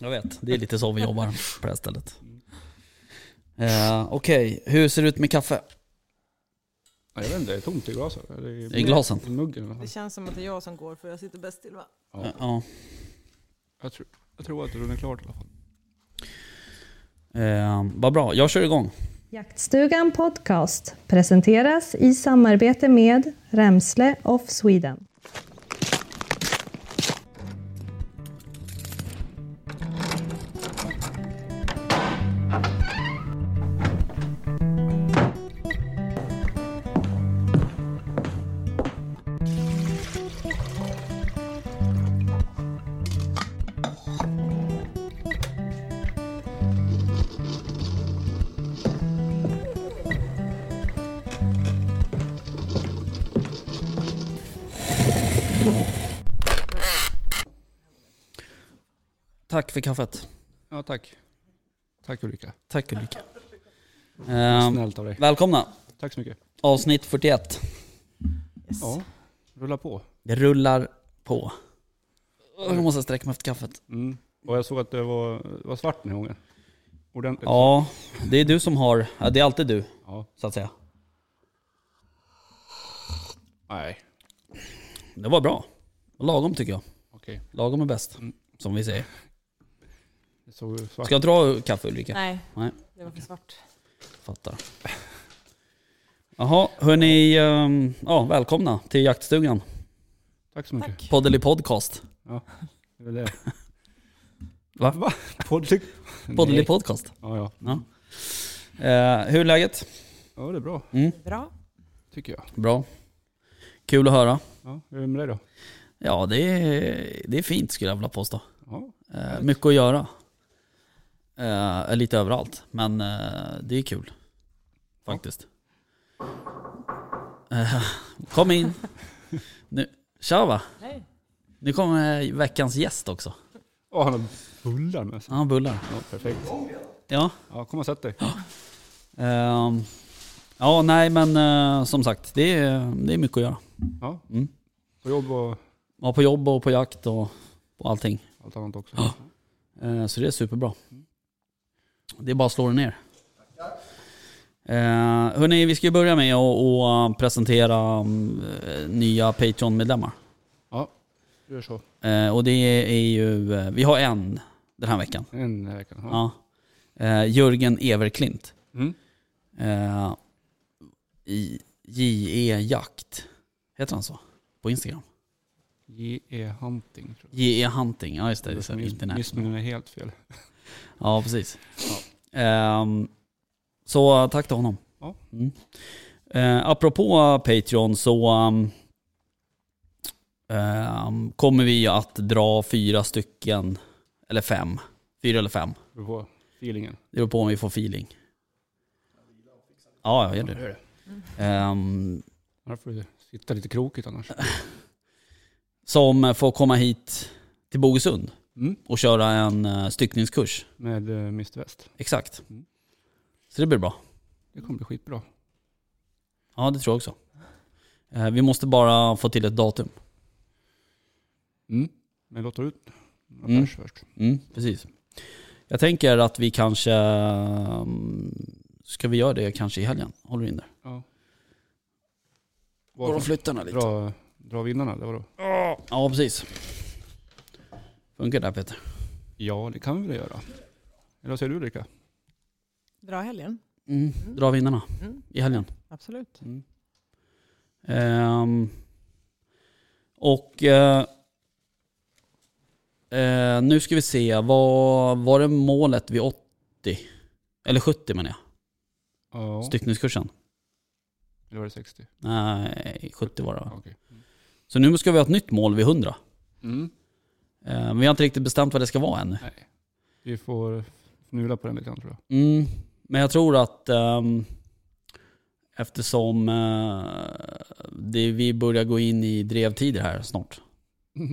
Jag vet, det är lite så vi jobbar på det här stället. Eh, Okej, hur ser det ut med kaffe? Jag vet inte, det är tomt i glaset. Eller I glasen? I muggen eller Det något. känns som att det är jag som går för jag sitter bäst till va? Eh, Ja. Ja. Jag, tror, jag tror att det är klart i alla fall. Eh, Vad bra, jag kör igång. Jaktstugan Podcast presenteras i samarbete med Remsle of Sweden. Tack för kaffet. Ja, tack. Tack Ulrika. Tack Ulrika. Eh, Snällt av dig. välkomna, Tack så mycket. avsnitt 41. Yes. Ja, rulla på. Det rullar på. Åh, Jag måste sträcka mig efter kaffet. Mm. Och jag såg att det var, det var svart den här gången. Ordentligt. Ja, det är du som har, ja, det är alltid du ja. så att säga. Nej, Det var bra. Lagom tycker jag. okej. Lagom är bäst. Som vi säger. Det såg svart. Ska jag dra kaffe Ulrika? Nej. Nej. det var för svart. Fattar. Jaha, hörni. ehm, Ja, välkomna till jaktstugan. Tack så mycket. Tack. Poddeli podcast. Det är det. Va? Va? Poddlyck? Poddeli Nej. podcast. Ja, ja. Ja. Eh, hur är läget? ja, det är bra Bra. tycker jag. Bra. Kul att höra. Ja, hur är det med dig då? Ja, det är, det är fint skulle jag vilja påstå. Ja, Eh, mycket att göra. Eh, lite överallt, men eh, det är kul. Faktiskt. Eh, kom in. Nu, tja va? Nej. Nu kommer veckans gäst också. Åh, han har bullar med sig. Han har bullar. Ja, perfekt. Ja. Ja, kom och sätt dig. Ehm, ja, nej men eh, som sagt, det är, det är mycket att göra. Ja. Mm. På jobb och Ja, på jobb och på jakt och på allting. allt annat också. Ja. Eh, så det är superbra. Det är bara att slå det ner. Eh, hörni, vi ska ju börja med att att eh, presentera mm, eh, nya Patreon-medlemmar. Ja, du gör så. Eh, och det är ju, eh, vi har en den här veckan. En vecka. Ja. Ja. Eh, Jörgen Everklint. Mm. Eh, i- JE Jakt. Heter han så? På Instagram? J.E. E Hunting tror jag. JE E Hunting, ja just det. det är så här internet. Gissningen är helt fel. Ja, precis. Ehm, så eh, tack till honom. Ja. Mm. Eh, apropå eh, Patreon så ehm, ehm, kommer vi att dra fyra stycken, eller fem. Fyra eller fem. Beror på feelingen. Det beror på om vi får feeling. Ja, ja, gör det. gör det. Ehm, Annars får du sitta lite krokigt annars. som får komma hit till Bogesund Mm. och köra en eh, styckningskurs. Med eh, Mr West. Exakt. Mm. Så det blir bra. Det kommer bli skitbra. Ja, det tror jag också. Eh, Vi måste bara få till ett datum. Mm. Men låt ut några Mm. pers först. Mm, precis. Jag tänker att vi kanske... mm, Ska vi göra det kanske i helgen? Håller du in där? Ja. Går de Varför? flyttarna lite? Dra, dra vinnarna eller vadå? Ja, precis. Funkar det här Peter? Ja, det kan vi väl göra. Eller vad säger du Ulrika? Bra helgen. Mm. Dra vinnarna Mm. i helgen. Absolut. Ehm, och... Eh, eh, nu ska vi se, vad var det målet vid 80? Eller 70 menar jag, Ja. styckningskursen. Eller var det 60? Nej, 70 var det va? Ja, okej. Så nu ska vi ha ett nytt mål vid 100. Mm. Eh, Men vi har inte riktigt bestämt vad det ska vara ännu. Nej. Vi får fnula på den lite grann tror jag. Mm. Men jag tror att ehm, eftersom eh, det, vi börjar gå in i drevtider här snart.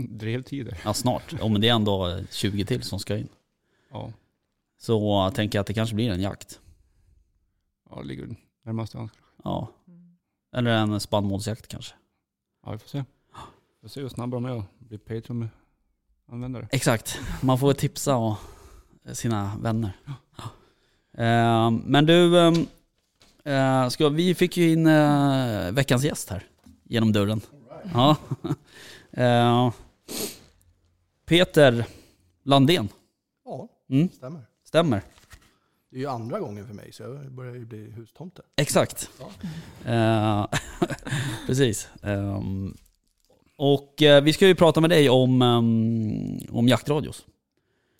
Drevtider. Ja snart, ja, men det är ändå 20 till som ska in. Ja. Så tänker jag att det kanske blir en jakt. ja, det ligger närmast i hands. Ja. Eller en spannmålsjakt kanske. Ja, vi får se. Vi får se hur snabba de är att bli Patreon användare. Exakt, man får tipsa och sina vänner. Eh, Men du, ehm, eh, ska, vi fick ju in eh, veckans gäst här genom dörren. Ja. Eh, Peter Landén, Ja, Mm. stämmer. stämmer? Det är ju andra gången för mig så jag börjar ju bli hustomte. Exakt. Eh, Precis. Ehm, Och eh, vi ska ju prata med dig om, ehm, om jaktradios.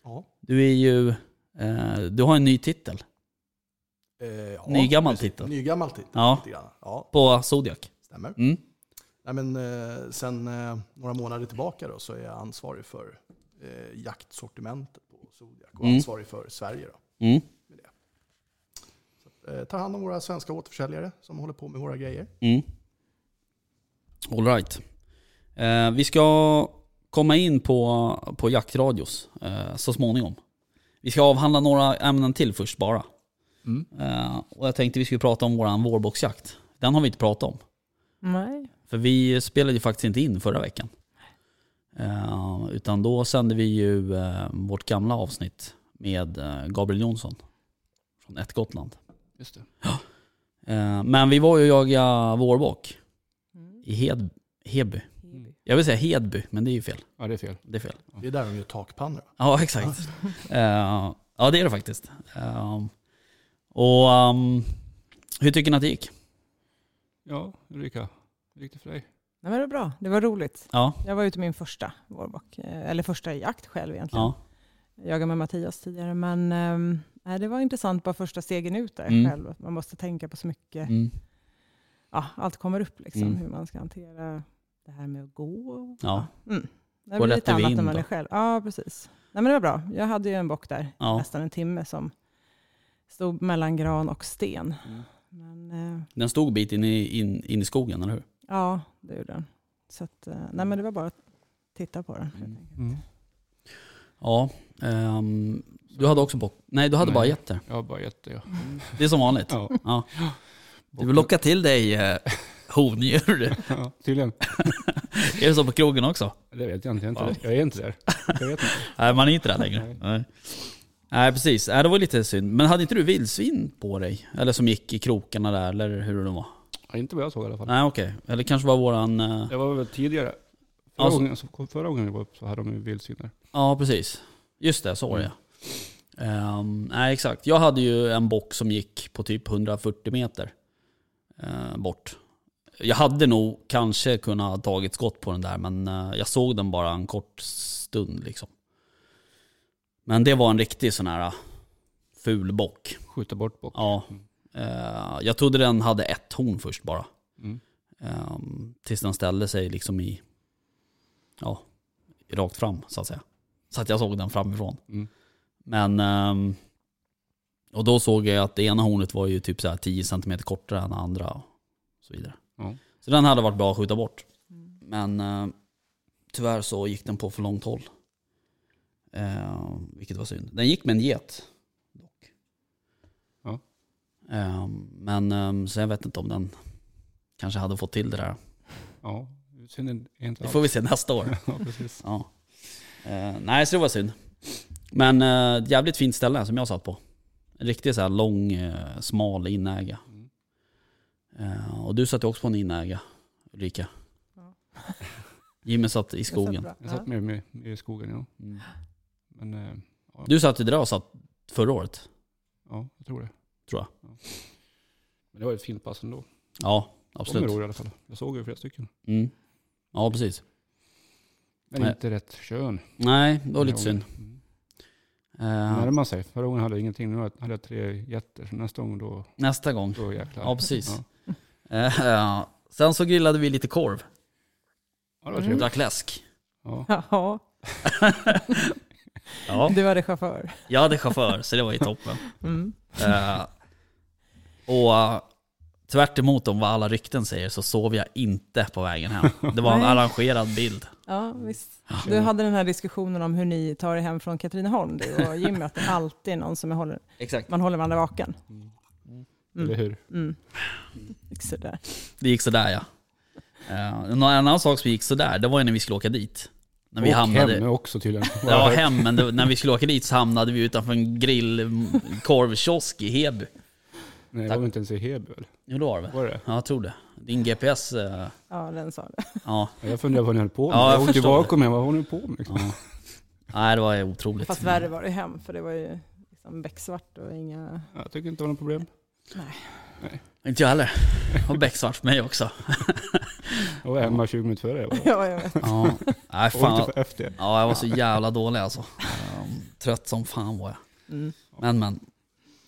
Ja. Du är ju, eh, du har en ny titel Eh, ja, Nygammal precis. titel. Nygammal titel. Ja. Lite grann. ja, på Zodiac. stämmer. Mm. Nej, men, eh, sen eh, några månader tillbaka då, så är jag ansvarig för eh, jaktsortimentet på Zodiac och Mm. ansvarig för Sverige. Då. Mm. Eh, tar hand om våra svenska återförsäljare som håller på med våra grejer. Mm. All right. Eh, vi ska komma in på, på jaktradios eh, så småningom. Vi ska avhandla några ämnen till först bara. Mm. Eh, och jag tänkte vi skulle prata om våran vårboxjakt. Den har vi inte pratat om. Nej. För vi spelade ju faktiskt inte in förra veckan. Eh, utan då sände vi ju eh, vårt gamla avsnitt med eh, Gabriel Jonsson från Ett Gotland. Just det. Eh, men vi var ju och jagade vårbock Mm. i Hed, Heby. Heby. Jag vill säga Hedby, men det är ju fel. Ja, det är fel. Det är fel. Det är där de gör takpannor. Ja, exakt. Eh, ja, det är det faktiskt. Ehm, och ehm, hur tycker ni att det gick? Ja, Ulrika. Hur gick det för dig? Nej, men det var bra. Det var roligt. Ja, Jag var ute min första vårbock. eh, Eller första jakt själv egentligen. ja. Jag jagade med Mattias tidigare. Men ehm, nej, det var intressant bara första stegen ut där Mm. själv. Att Man måste tänka på så mycket. Mm, Ja, allt kommer upp liksom. Mm. Hur man ska hantera det här med att gå. ja. Mm. Det Och blir lite rätter vi annat in när man då? är själv. Ja, precis. Nej, men det var bra. Jag hade ju en bock där Ja. nästan en timme som stod mellan gran och sten. Mm. Men eh, Den stod bit in i, in, in i skogen, eller hur? ja, det gjorde den. Så att, eh, nej, men det var bara att titta på den. Mm. helt enkelt. Ja. ehm, du hade också bock? Nej, du hade Nej. bara getter. Jag har bara gett det. ja. Det är som vanligt. Ja. Ja. Du vill locka till dig eh, hondjur. Ja, tydligen. är det så på krogen också? Det vet jag inte. Ja. Jag är inte, där. jag är inte där. Jag vet inte. Nej, man är inte där längre. Nej, Nej precis. Nej, det var lite synd. Men hade inte du vildsvin på dig? Eller som gick i krokarna där, eller hur det var? Ja, inte vad jag såg i alla fall. Nej okej, eller kanske var våran... eh, Det var väl tidigare. Förra, Alltså- gången, så- förra gången jag var uppe så hade de ju vildsvin där. Ja precis. Just det, så var det um, Nej exakt. Jag hade ju en bock som gick på typ 140 meter eh, bort. Jag hade nog kanske kunnat ha tagit skott på den där men eh, jag såg den bara en kort stund liksom. Men det var en riktig sån här eh, ful bock. Skjuta bort bock. Ja. Mm. Eh, jag trodde den hade ett horn först bara. Mm. Ehm, tills den ställde sig liksom i, ja, rakt fram så att säga. Så att jag såg den framifrån. Mm. Men, ehm, och då såg jag att det ena hornet var ju typ så här 10 cm kortare än det andra och så vidare. Ja. Så den hade varit bra att skjuta bort. Mm. Men eh, tyvärr så gick den på för långt håll. Eh, vilket var synd. Den gick med en get. Dock. Ja. Eh, men eh, så jag vet inte om den kanske hade fått till det där. Ja, synd är inte Det får vi se nästa år. Ja, precis. ja. eh, nej, så det var synd. Men eh, ett jävligt fint ställe som jag satt på. En riktigt så här lång, eh, smal inäga. Mm. Eh, och du satt ju också på en inäga, Ulrika. Ja. Jimmy satt i Det satt skogen. bra. Jag satt Ja. med mig i skogen, ja. Mm. Men eh, Du satt i Drösat förra året. ja, jag tror det. Tror jag. Ja. Men det var ett fint pass ändå. Ja, De är absolut. roliga i alla fall. Jag såg ju flera stycken. Mm. Ja, precis. Men Nej. inte rätt kön. Nej, det var Den lite här gången. synd. Mm. Eh, Närmar sig. Förra gången hade jag ingenting. Nu hade jag tre jätter. Så nästa gång då, nästa gång. då jäklar. Ja, precis. Ja, Eh, sen så grillade vi lite korv. ja det var Och trevligt. drack läsk. Ja. Jaha, Ja, du var det chaufför. jag hade chaufför så det var ju toppen. Mm. Eh, och eh, tvärt emot om vad alla rykten säger så sov jag inte på vägen hem. Det var en Nej. arrangerad bild. Ja, visst. Du hade den här diskussionen om hur ni tar er hem från Katrineholm, du och Jimmy, att det alltid är någon som är håller, Exakt. man håller varandra vaken. Mm. Eller hur? Mm. Sådär. Det gick sådär ja. Eh, en annan sak som gick sådär, det var ju när vi skulle åka dit. När vi och hamnade... hem också tydligen. Ja, hem. Men det, när vi skulle åka dit så hamnade vi utanför en grillkorvkiosk i Heby. Nej, det Tack. var inte ens i Heby väl? Jo, det var det väl? Var det? Ja, jag tror det. Din GPS... eh, Ja, den sa det. Ja. Ja, Jag funderade på vad ni höll på med. Ja, jag jag åkte förstår bakom mig, vad håller ni på med? Liksom? ja. Nej, det var ju otroligt. Fast värre var det hem, för det var ju liksom becksvart och inga... Jag tycker inte det var något problem. Inte jag heller. Och becksvart för mig också. Jag var hemma 20 minuter före. Jag var. Ja, jag vet. Ja. Nej, Jag fan. åkte efter. Ja, jag var så jävla dålig alltså. Ehm, Trött som fan var jag. Mm. Men men.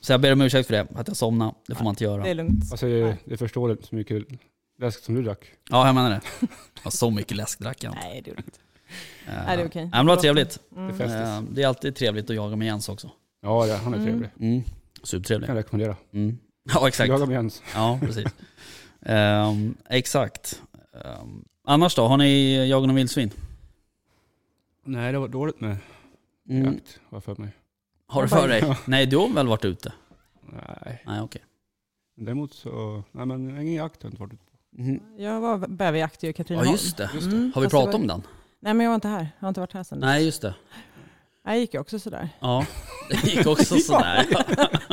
Så jag ber om ursäkt för det, att jag somnade. Det får man inte göra. Det är lugnt. Alltså, det, det förstår inte så mycket läsk som du drack. Ja, jag menar det. Ja, så mycket läsk drack jag inte. Nej, det är lugnt. Ehm, Nej, det är okej. men det var trevligt. Mm. Det är festis. Ehm, Det är alltid trevligt att jaga med Jens också. Ja, ja han är Mm. trevlig. Mm. Det Supertrevlig. kan jag rekommendera. Mm. Ja, exakt. Jaga med Jens. Ja, precis. Ehm, exakt. Ehm, annars då, har ni jagat någon vildsvin? Nej, det var dåligt med Mm. jakt, har jag för mig. Har du för dig? Nej, du har väl varit ute? Nej, Nej, okej. däremot så... Nej, men ingen jakt har jag inte varit ute på. Mm. Jag var bäverjakt i Ja, Katrineholm. just det. Mm, Har vi fast det pratat var- om den? Nej, men jag var inte här. Jag har inte varit här sedan dess. Nej, just det. Jag gick ju också sådär. Ja, det gick också Ja. sådär.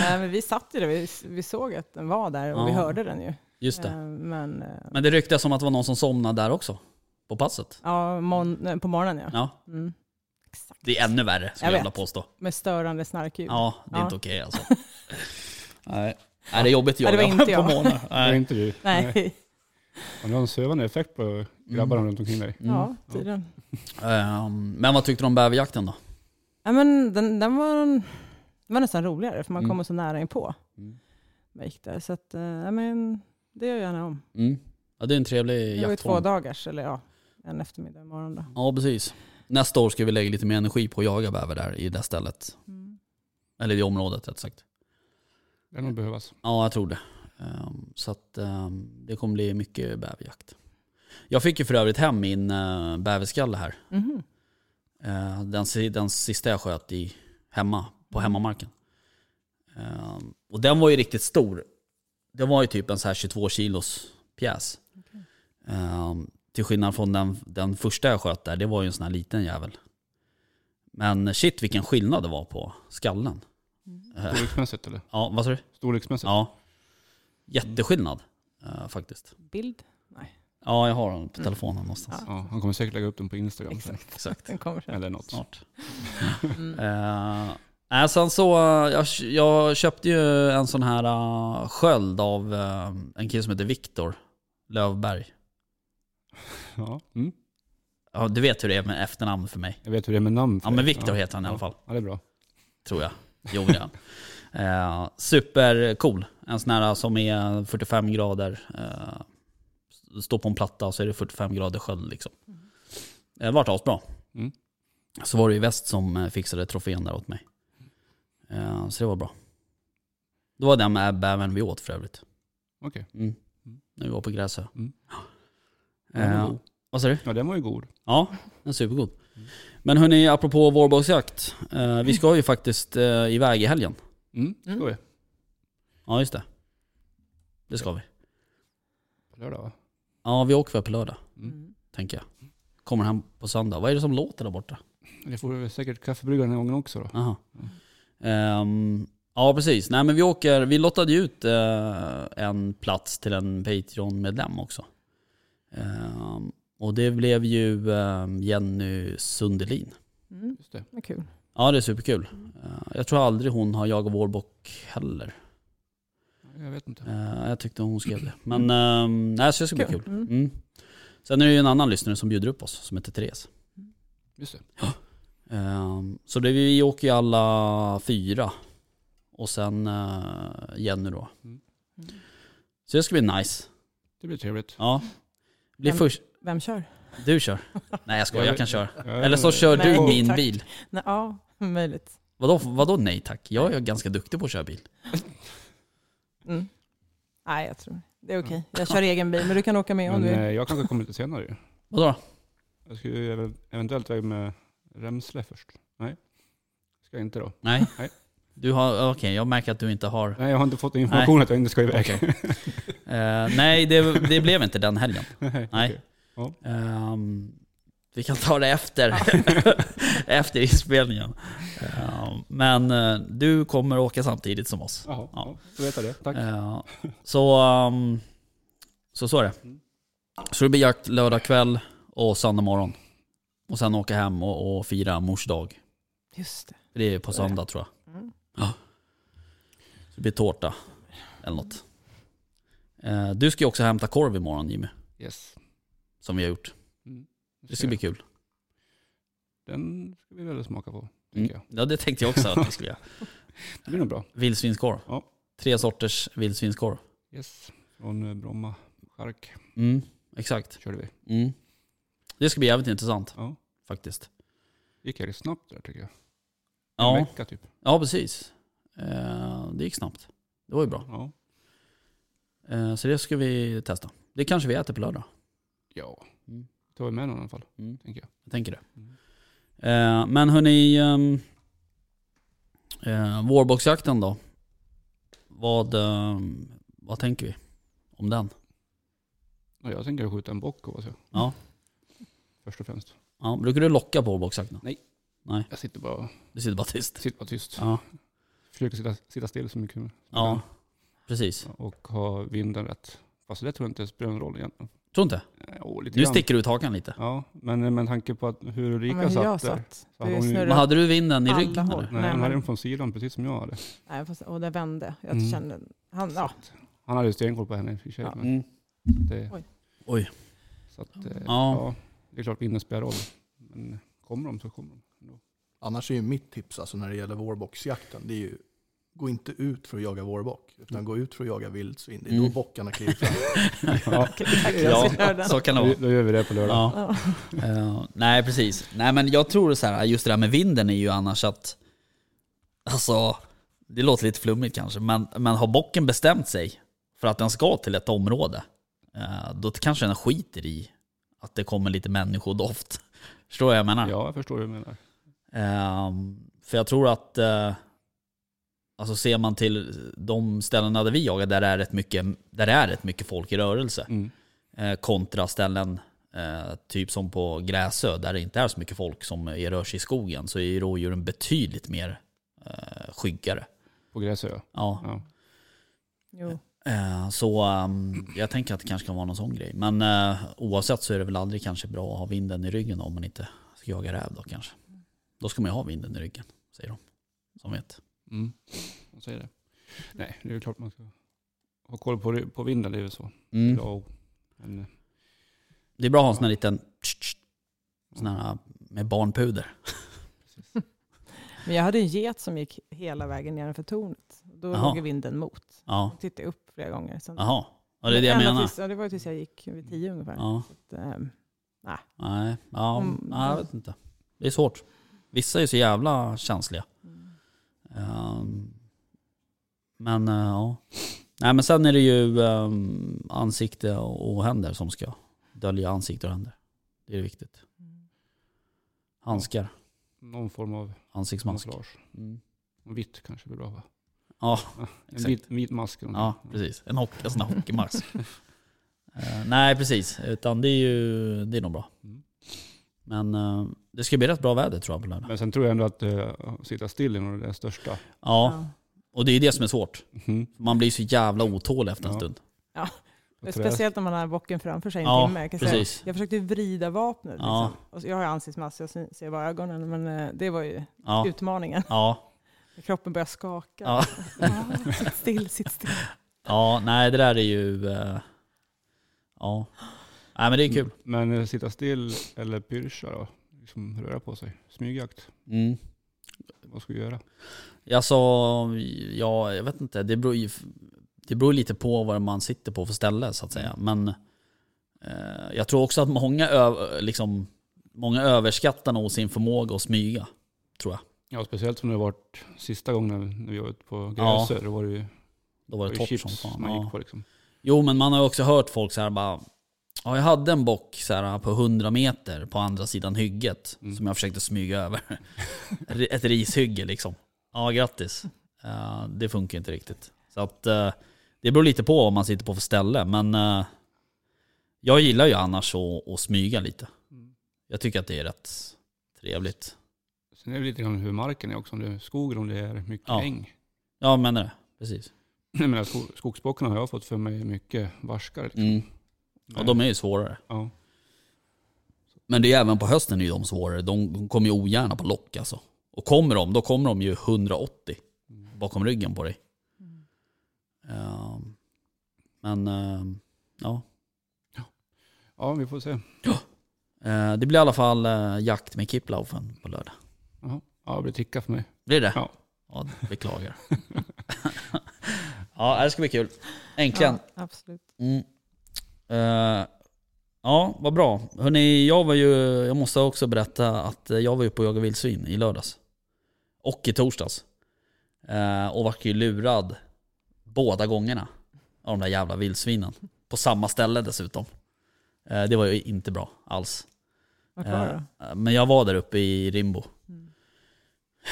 Nej, men vi satt ju där, vi, vi såg att den var där och vi Ja. hörde den ju. Just det. Eh, Men eh, Men det ryktas som att det var någon som somnade där också. På passet. ja, mon- nej, på morgonen ja. Ja, Mm. Exakt. det är ännu värre skulle Jag jag vilja vet. påstå. Med störande snarkljud. Ja, det är Ja. inte okej alltså. Nej. Nej, det är jobbigt att Nej, det var jaga inte på jag. Mm. morgonen. Det är Nej. inte du. Nej, Mm. Har du någon sövande effekt på grabbarna runt omkring dig? Mm. ja tydligen. Ehm, Men vad tyckte du om bäverjakten då? Ja, men den, den, var, den var nästan roligare för man Mm. kommer så nära inpå. Mm. Man gick där. Så att, eh, ja, men, det gör jag gärna om. Mm. Ja, det är en trevlig Det var ju två jaktform. dagars, eller ja, en eftermiddag och morgon då. Ja, precis. Nästa år ska vi lägga lite mer energi på att jaga bäver där i det stället. Mm. Eller i det området rätt sagt. Det kan nog behövas. Ja, jag tror det. Ehm, Så att ehm, det kommer bli mycket bäverjakt. Jag fick ju för övrigt hem min eh, bäverskalle här. Mhm. Eh, Den, si- den sista jag sköt i hemma, på hemmamarken. Eh, Och den var ju riktigt stor. Det var ju typ en så här 22 kilos pjäs. Eh, Till skillnad från den, den första jag sköt där, det var ju en sån här liten jävel. Men shit vilken skillnad det var på skallen. Eh, Storleksmässigt eller? Ja, vad sa du? Storleksmässigt? Ja. Jätteskillnad eh, faktiskt. Bild? Nej, Ja, jag har den på telefonen någonstans. Ja, han kommer säkert lägga upp den på Instagram sen. exakt. Exakt. Den kommer sen. Eller något. Snart. Mm. Eh, nej, sen så, eh, jag, jag köpte ju en sån här eh, sköld av eh, en kille som heter Viktor Lövberg. Ja. Mm. Ja, du vet hur det är med efternamn för mig. Jag vet hur det är med namn. för Ja men dig. Viktor heter han i alla fall, Ja, det är bra. tror jag. Jo det är han. Eh, supercool. En sån här som är 45 grader, eh, står på en platta och så är det 45 grader sköld liksom. Eh, Det vart asbra. Mm. Så var det ju väst som eh, fixade trofén där åt mig. Eh, Så det var bra. Det var den med bävern vi åt för övrigt. Okej. Mm. Mm. När vi var på Gräsö. Mm. Ja. Den var Eh, god. Mm. Vad sa du? Ja, den var ju god. Ja, den är supergod. Men hörni, apropå vårboxjakt. Eh, vi ska ju faktiskt eh, iväg i helgen. Mm. Mm. Ska vi? Ja, just det. Det ska vi. På Lördag va? Ja, vi åker väl på lördag, Mm. tänker jag. Kommer hem på söndag. Vad är det som låter där borta? Det får vi säkert kaffebryggaren den här gången också då. Aha. Ehm, ja, precis. Nej, men vi åker. Vi lottade ju ut eh, en plats till en Patreon-medlem också. Ehm, och det blev ju eh, Jenny Sundelin. Mm. Just det. Vad kul. Ja, det är superkul. Eh, jag tror aldrig hon har jagat vårbock heller. Jag vet inte. Eh, jag tyckte hon skrev det. Men ehm, nej, så det ska bli Kul. kul. Mm. Mm. Sen är det ju en annan lyssnare som bjuder upp oss som heter Therese. Just det. Ehm, så det, vi åker ju alla fyra. Och sen eh, Jenny då. Mm. Mm. Så det ska bli nice. Det blir trevligt. Ja. Blir Men- först, Vem kör? du kör. Nej jag skojar, jag kan köra. Ja, Eller så kör Nej, du min tack. bil. Nej, ja, möjligt. Vadå, vadå nej tack? Jag är ganska duktig på att köra bil. Mm. Nej, jag tror det är okej. Jag kör egen bil, men du kan åka med om Men du vill. eh, jag kanske kommer lite senare ju. Vadå då? Jag ska ju ev- eventuellt iväg med Remsle först. Nej. Ska jag inte då. Nej. Nej. Du har, okej jag märker att du inte har. Nej, jag har inte fått information att jag inte ska iväg. Okej. Eh, nej det, det blev inte den helgen. Nej. Nej. okej. Ja. Ehm, Vi kan ta det efter, efter inspelningen. Eh, men eh, du kommer åka samtidigt som oss. Jaha, Ja. ja. då vet jag det. Tack. Eh, så, ehm, så så är det. Mm. Så det blir jakt lördag kväll och söndag morgon. Och sen åka hem och, och fira mors dag. Just det. Det är på söndag tror jag. Mm. Ja. Så det blir tårta eller något. Eh, Du ska ju också hämta korv imorgon Jimmy, Yes. som vi har gjort. Mm. Det ska bli kul. Den ska vi väl smaka på, Mm. tycker jag. Ja det tänkte jag också att vi skulle göra. Det blir nog bra. Vildsvinskorv. Ja. Tre sorters vildsvinskorv. Yes. Från eh, Bromma Chark Mm, exakt. körde vi. Mm. Det ska bli jävligt intressant Ja. faktiskt. Gick jävligt snabbt där tycker jag. En Ja. vecka typ. Ja, precis. Eh, det gick snabbt. Det var ju bra. Ja. Eh, så det ska vi testa. Det kanske vi äter på lördag. ja. Mm. Tar vi med någon i alla fall, Mm. tänker jag. Jag tänker det. Mm. Eh, men hörni, um, eh, vårboxjakten då. Vad, ehm, vad tänker vi om den? Och jag tänker skjuta en bock hoppas jag. Ja. Först och främst. Ja, brukar du locka på vårboxjakten? Jag sitter bara, Du sitter bara tyst. sitter bara tyst. Ja, Försöker sitta, sitta still så mycket som jag ja precis. kan. Och ha vinden rätt. Fast det tror jag inte spelar någon roll egentligen. Tror inte? Eh, åh, lite Du grann. sticker ut hakan lite. Ja, men eh, med tanke på att hur Ja, Ulrika men hur jag satt där. satt. hade Du hon ju- Men snurrade. hade du vinden i Alla ryggen håll. eller? Nej, Nej, han men- hade den från sidan precis som jag hade. Nej, fast, och det vände. Jag Mm. kände... Han, ja. Han hade ju stenkoll på henne i och för sig. Ja. Mm. Men det, Oj. Oj. Så att, eh, Ja. ja. det är klart vinden spelar roll. Men kommer de så kommer de. ändå. Annars är ju mitt tips alltså när det gäller vårbocksjakten, det är ju gå inte ut för att jaga vårbock, utan gå ut för att jaga vildsvin. Det är då Mm. bockarna kliver fram. Ja, Ja, så kan det vara. då- då gör vi det på lördag. Ja. Eh, nej, precis. Nej, men jag tror så här, just det där med vinden är ju annars att... Alltså, det låter lite flummigt kanske, men, men har bocken bestämt sig för att den ska till ett område, eh, då kanske den skiter i att det kommer lite människodoft. Förstår du vad jag menar? Ja, jag förstår hur du menar. Ehm, för jag tror att, eh, alltså ser man till de ställena där vi jagar, där är rätt mycket, där är rätt mycket folk i rörelse. Mm. Eh, kontra ställen, eh, typ som på Gräsö, där det inte är så mycket folk som är, rör sig i skogen, så är ju rådjuren betydligt mer eh, skyggare. På Gräsö. Ja. Ja. Jo. Eh, så ehm, jag tänker att det kanske kan vara någon sån grej. Men eh, oavsett så är det väl aldrig kanske bra att ha vinden i ryggen om man inte ska jaga räv då kanske. Då ska man ju ha vinden i ryggen, säger de. Som vet. Mm. De säger det. Nej, det är ju klart man ska ha koll på, på vinden. Det är väl så. Mm. Ja, men, eh, Det är bra att ha en sån här liten tsch, tsch, sån här eh, med barnpuder. Men jag hade en get som gick hela vägen nedanför tornet. Då Jaha. låg ju vinden mot. Ja, Jag tittade upp flera gånger. Sen, jaha. Ja, det är det jag Ända menar. Tills, ja, det var ju tills jag gick vid tio ungefär. Ja. Så, ehm, Nej, ja, Om- nej, jag vet inte. Det är svårt. Vissa är så jävla känsliga. Mm. Ehm, men eh, ja. Nej men sen är det ju ehm, ansikte och och händer som ska dölja ansikte och händer. Det är viktigt. Mm. Handskar, någon form av ansiktsmask. massage. Mm. Vitt kanske blir bra va? Ja, En exakt. vit, vit mask. eller Ja, någonting. precis. En, hockey, en sån här hockeymask. Eh, nej, precis. Utan det är ju det är nog bra. Mm. Men eh, det ska bli rätt bra väder tror jag på lördag. Men sen tror jag ändå att eh, sitta still är nog det största. Ja, och det är ju det som är svårt. Mm. Man blir så jävla otålig efter en Ja. stund. Ja. Speciellt när man har bocken framför sig en Ja, timme. Jag, kan säga, Precis. jag försökte vrida vapnet. Ja. Liksom. Och så, jag har ju ansiktsmask, jag sy- ser bara ögonen. Men eh, det var ju Ja. utmaningen. Ja. Kroppen börjar skaka. Ja. Ah, sitt still, sitt still. ja, nej det där är ju... eh, Ja. Nej men det är kul. Men eh, sitta still eller pyrscha då? Liksom röra på sig. Smygjakt. Mm. Vad ska vi göra? Alltså, ja, jag vet inte. Det beror, ju, det beror lite på vad man sitter på för ställe så att säga. Mm. Men eh, jag tror också att många, ö, liksom, många överskattar nog sin förmåga att smyga. Tror jag. Ja, speciellt som det har varit sista gången när- när vi var ute på Gräsö. Då var det ju, Då var var det ju torrt som chips fan. man ja. gick på liksom. Jo, men man har ju också hört folk så här bara. Ja, jag hade en bock så här, på 100 meter på andra sidan hygget som jag försökte smyga över. Ett rishygge liksom. Ja, grattis. Eh, det funkar ju inte riktigt. Så att eh, det beror lite på vad man sitter på Mm. för ställe. Men eh, jag gillar ju annars att, att smyga lite. Jag tycker att det är rätt trevligt. Sen är det lite grann hur marken är också. Om det är skogen, om det är mycket Ja. äng. Ja, men det. Precis. Jag menar, sko- skogsbockarna har jag fått för mig är mycket varskare. Liksom. Mm. Och de är ju svårare. ja. Men det är även på hösten är ju de svårare. De de kommer ju ogärna på lock alltså. Och kommer de, då kommer de ju 180 bakom ryggen på dig. Ehm, men ehm, ja, ja, vi får se. Eh, det blir i alla fall eh, jakt med Kipplaufen på lördag. Ja, ja det blir ticka för mig. Blir det? Ja. ja beklagar. ja, det ska bli kul. Äntligen. Ja, absolut. Mm. Eh, ja, vad bra. Hörrni, jag var ju, jag måste också berätta att jag var ju på och jagade vildsvin i lördags. Och i torsdags. Eh, och vart ju lurad båda gångerna av de där jävla vildsvinen. På samma ställe dessutom. Eh, det var ju inte bra alls. Vart var det Eh, då? Men jag var där uppe i Rimbo.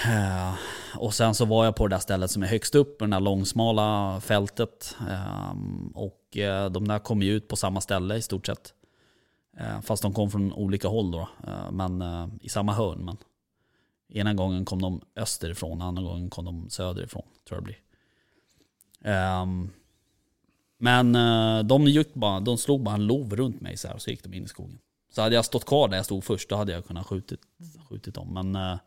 Eh, Och sen så var jag på det där stället som är högst upp, det där långsmala fältet. Ehm, Och eh, de där kom ju ut på samma ställe i stort sett. Eh, Fast de kom från olika håll då, eh, men eh, i samma hörn. Men ena gången kom de österifrån, andra gången kom de söderifrån, tror jag det blir. Ehm, Men eh, de, gick bara, de slog bara en lov runt mig så här och så gick de in i skogen. Så hade jag stått kvar där jag stod först, då hade jag kunnat skjutit, skjutit dem. Men eh,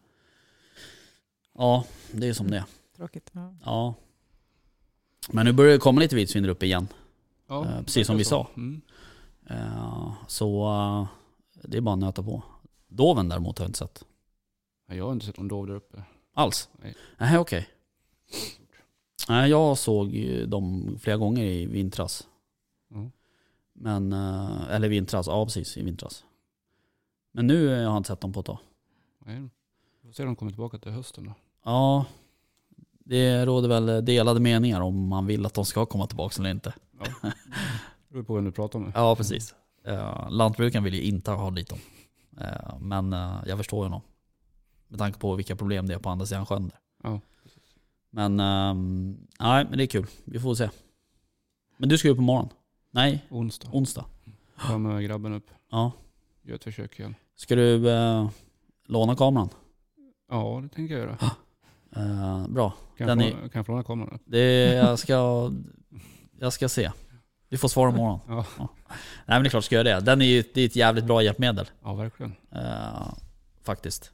ja, det är som det är. Tråkigt. Ja. Ja. Men nu börjar det komma lite vildsvin där uppe igen. Ja, Eh, precis som verkar vi så. sa. Mm. Eh, så eh, det är bara att nöta på. Doven däremot har jag inte sett. Ja, jag har inte sett någon dov där uppe. Alls? Nej. Nej, okej. Nej, jag såg ju dem flera gånger i vintras. Mm. Men, eh, eller vintras, ja precis i vintras. Men nu eh, har jag inte sett dem på ett tag. Nej. Vi får se om de kommer tillbaka till hösten då. Ja, det råder väl delade meningar om man vill att de ska komma tillbaka eller inte. Det beror på vem du pratar med. Ja, precis. Uh, lantbrukaren vill ju inte ha dit dem. Eh, men eh, jag förstår ju honom. Med tanke på vilka problem det är på andra sidan sjön där. Ja, Men, ehm, nej, men det är kul. Vi får se. Men du ska ju på morgon. Nej, Onsdag. onsdag. Ta med grabben upp. Ja. Gör ett försök igen. Ska du eh, låna kameran? Ja, det tänker jag göra. Eh, bra. Kan Den jag, få, kan jag få låna kameran? upp? Det, jag, ska, jag ska se. Vi får svar imorgon. Ja. Nej men det är klart ska jag göra det. Den är ju det är ett jävligt bra hjälpmedel. Ja, verkligen. eh, faktiskt.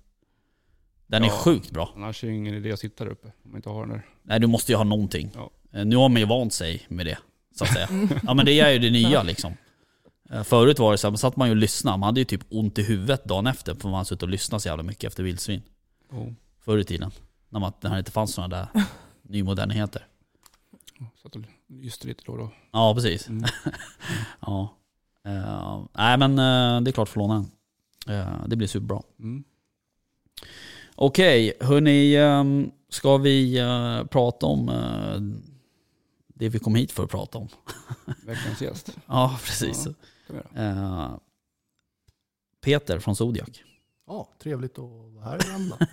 Den är Ja. sjukt bra. Annars är det ingen idé att sitta där uppe om man inte har den där. Nej du måste ju ha någonting. Ja. Mm. Eh, nu har man ju vant sig med det. Så att säga. ja men det är ju det nya liksom. Eh, Förut var det så här, men satt man ju och lyssnade. Man hade ju typ ont i huvudet dagen efter för man hade suttit och lyssnat så jävla mycket efter vildsvin. Oh. Förr i tiden. När man, när det inte fanns sådana där nymodernheter. Satt och lyste lite då och då. Ja, precis. Mm. ja. Eh, nej, men eh, det är klart för låna den. Eh, det blir superbra. Mm. Okej, hörni. ehm, ska vi eh, prata om eh, det vi kom hit för att prata om? Veckans gäst. Ja, precis. Ja. Kan vi göra. Eh, Peter från Zodiac. Ja, trevligt att vara här i Värmland.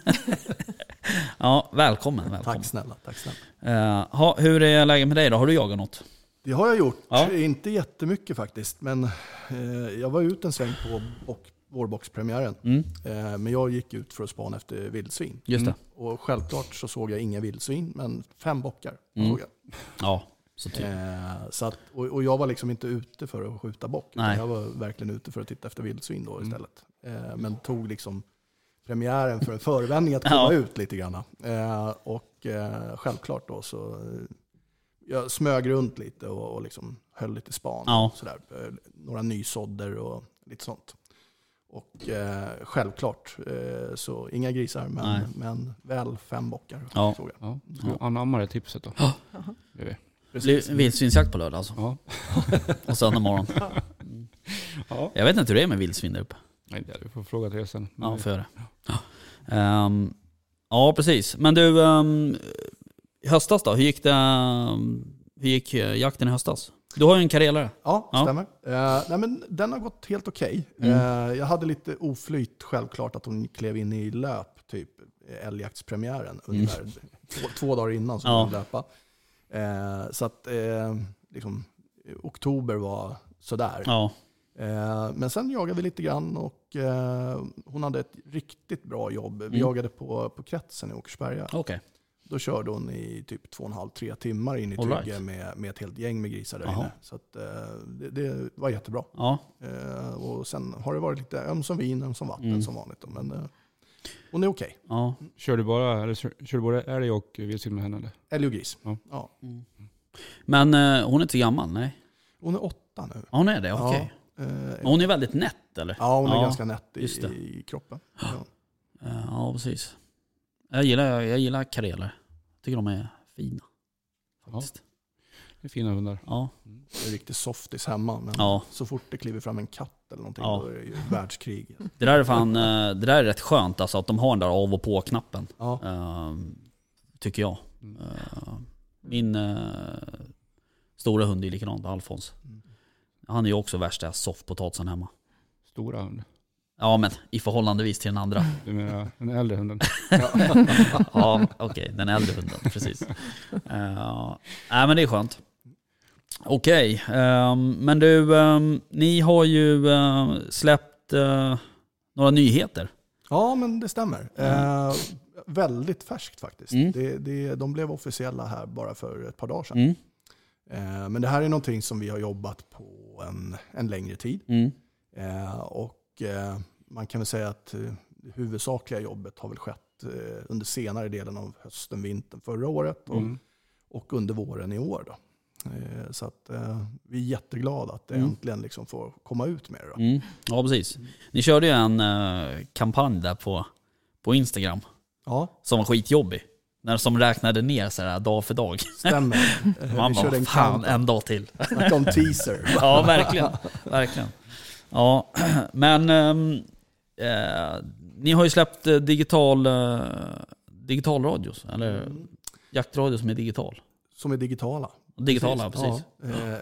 Ja, välkommen. välkommen. Tack snälla, tack snälla. Eh, ha, hur är läget med dig då? Har du jagat något? Det har jag gjort. Eh, Ja. Inte jättemycket faktiskt, men eh, jag var ut en sväng på bock, vårboxpremiären. Mm, Eh, men jag gick ut för att spana efter vildsvin. just det. Och självklart så såg jag inga vildsvin, men fem bockar Mm. såg jag. Ja, så typ. Eh, så att, och, och jag var liksom inte ute för att skjuta bock. utan Nej. Mm. Jag var verkligen ute för att titta efter vildsvin då istället. Eh, men tog liksom premiären för en förevändning att komma Ja. ut lite grann. Eh, och eh, självklart då så eh, jag smög runt lite och, och liksom höll lite span. Ja. Och sådär, Eh, några nysådder och lite sånt. Och eh, självklart, eh, så inga grisar Nej. men, men väl fem bockar. Ja. såg jag. Ja, ska vi anamma det tipset då. Ja. Det gör vi. Blir Vildsvinsjakt på lördag alltså? Ja. Och söndag morgon. ja. Jag vet inte hur det är med vildsvin där uppe. Nej, det- vi får fråga till sen. Men Ja, vi- för det. Ja. Ehm, ja, precis. Men du, ehm, i höstas då? Hur gick, det, ehm, hur gick eh, jakten i höstas? Du har ju en karelare. Ja, Ja. Mm. stämmer. Eh, nej, men den har gått helt okej. Eh, jag hade lite oflyt självklart att hon klev in i löp, typ eh, älgjaktspremiären, ungefär två, två dagar innan som Mm. Ja. hon löpa. Eh, så att eh, liksom, eh, oktober var sådär. Ja, Eh, Men sen jagade vi lite grann och eh, hon hade ett riktigt bra jobb. Vi Mm. jagade på, på kretsen i Åkersberga. Okej. Då körde hon i typ två och en halv, tre timmar in i All Trygge right. med, med ett helt gäng med grisar där Jaha. inne. Så att, eh, det, det var jättebra. Ja. Eh, Och sen har det varit lite ömsom vin, ömsom vatten Mm. som vanligt. då, Men eh, hon är okej. ja. Kör du bara, eller, kör, kör du bara älg och vildsvin med henne eller? Älg och gris. Ja. Ja. Men eh, hon är inte gammal? Nej. Hon är åtta nu. Ja, Hon är det? Okej. Ja, eh, Men hon är väldigt nätt eller? ja hon är Ja, ganska nätt i, just det. i kroppen. Ja. Eh, Ja, precis. Jag gillar, jag gillar kareler. Tycker de är fina. Faktiskt. Det är fina hundar. Mm. Ja. Det är riktigt softis hemma. Men ja. så fort det kliver fram en katt eller någonting Ja. då är det ju världskrig. Det där är fan, eh, det där är rätt skönt alltså att de har den där av och på-knappen. Ja. Eh, Tycker jag. Mm. Eh, Min eh, stora hund är likadant, Alfons. Han är ju också värsta soffpotatisen hemma. Stora hund. Ja men i förhållandevis till den andra. Du menar den äldre hunden? ja, okej. Den äldre hunden, precis. Uh, nej, men det är skönt. Okej, ehm, men du, ehm, ni har ju eh, släppt eh, några nyheter. Ja, men det stämmer. Eh, väldigt färskt faktiskt. Mm. Det, det, de blev officiella här bara för ett par dagar sedan. Eh, men det här är någonting som vi har jobbat på en, en längre tid. Mm. Eh, och eh, man kan väl säga att eh, det huvudsakliga jobbet har väl skett eh, under senare delen av hösten, vintern förra året och, Mm. och under våren i år. Då. Eh, så att, eh, vi är jätteglada att det Mm. äntligen liksom får komma ut med det. Då. Mm. Ja, precis. Ni körde ju en eh, kampanj där på, på Instagram Ja, som var skitjobbig. När, som räknade ner så här, dag för dag. stämmer. Eh, Man vi körde bara, en fan countdown. en dag till. Snacka om teaser. Ja, verkligen. verkligen. Ja, men ehm, eh, ni har ju släppt eh, digital, eh, digital radios, eller Mm. jaktradio som är digital. Som är digitala. Digitala, precis. Ja. Eh,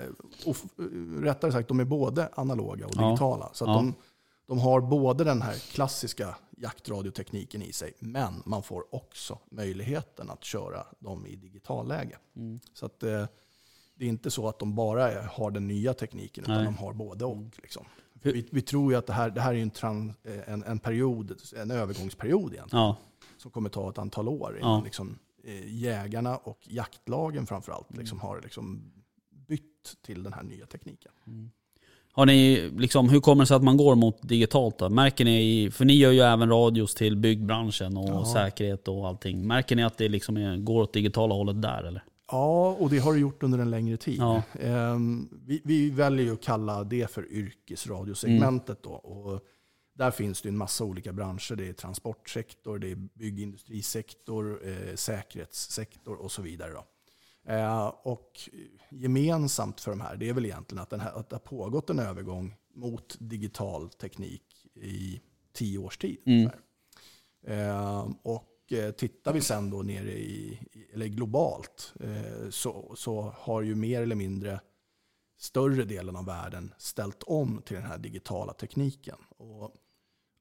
och f- eh, rättare sagt, de är både analoga och Ja. digitala. Så att Ja. de, de har både den här klassiska jaktradiotekniken i sig, men man får också möjligheten att köra dem i digital läge. Mm. Så att, eh, det är inte så att de bara är, har den nya tekniken, utan Nej. de har både och. Liksom. Hur- Vi, vi tror ju att det här, det här är ju en, trans, eh, en, en, period, en övergångsperiod egentligen Ja, som kommer ta ett antal år innan Ja. liksom, eh, jägarna och jaktlagen framför allt liksom, har liksom, bytt till den här nya tekniken. Har ni, liksom, hur kommer det sig att man går mot digitalt då? Märker ni, i- för ni gör ju även radios till byggbranschen och Ja. säkerhet och allting. Märker ni att det liksom är, går åt digitala hållet där eller? Ja, och det har det gjort under en längre tid. Ja. Ehm, vi, vi väljer ju att kalla det för yrkesradiosegmentet. Då, och där finns det ju en massa olika branscher. Det är transportsektor, det är byggindustrisektor, eh, säkerhetssektor och så vidare. Då. Eh, och gemensamt för de här, det är väl egentligen att, den här, att det har pågått en övergång mot digital teknik i tio års tid. Mm. ungefär. Eh, och eh, tittar vi sen då nere i, i- eller globalt, eh, så, så har ju mer eller mindre större delen av världen ställt om till den här digitala tekniken. Och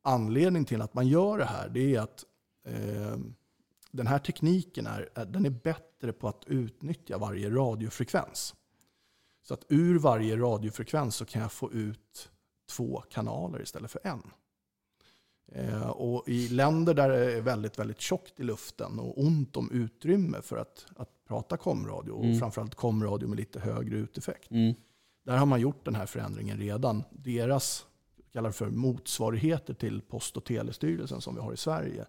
anledningen till att man gör det här, det är att eh, den här tekniken är, är- den är bättre på att utnyttja varje radiofrekvens. Så att ur varje radiofrekvens så kan jag få ut två kanaler istället för en. Eh, och I länder där det är väldigt, väldigt tjockt i luften och ont om utrymme för att, att prata komradio, och framförallt komradio med lite högre uteffekt, Mm. där har man gjort den här förändringen redan. Deras kallar för motsvarigheter till Post och telestyrelsen som vi har i Sverige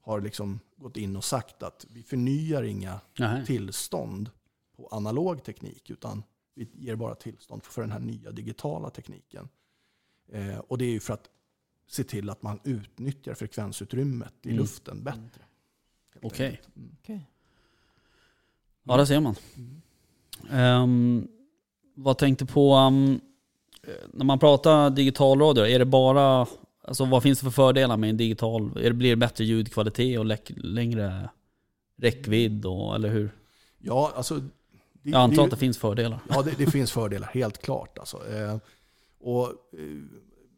har liksom gått in och sagt att vi förnyar inga Nej. tillstånd på analog teknik utan vi ger bara tillstånd för den här nya digitala tekniken. Eh, och det är ju för att se till att man utnyttjar frekvensutrymmet i Mm. luften bättre. helt Okej. enkelt. Mm. Okej. Ja, där ser man. Ehm, vad tänkte på, ehm, när man pratar digital radio, är det bara, alltså vad finns det för fördelar med en digital, är det, blir det bättre ljudkvalitet och läck, längre räckvidd och, eller hur? Ja, alltså, det- Jag det är antar ju- att det finns fördelar. Ja, det, det finns fördelar, helt klart. Alltså. Eh, och, eh,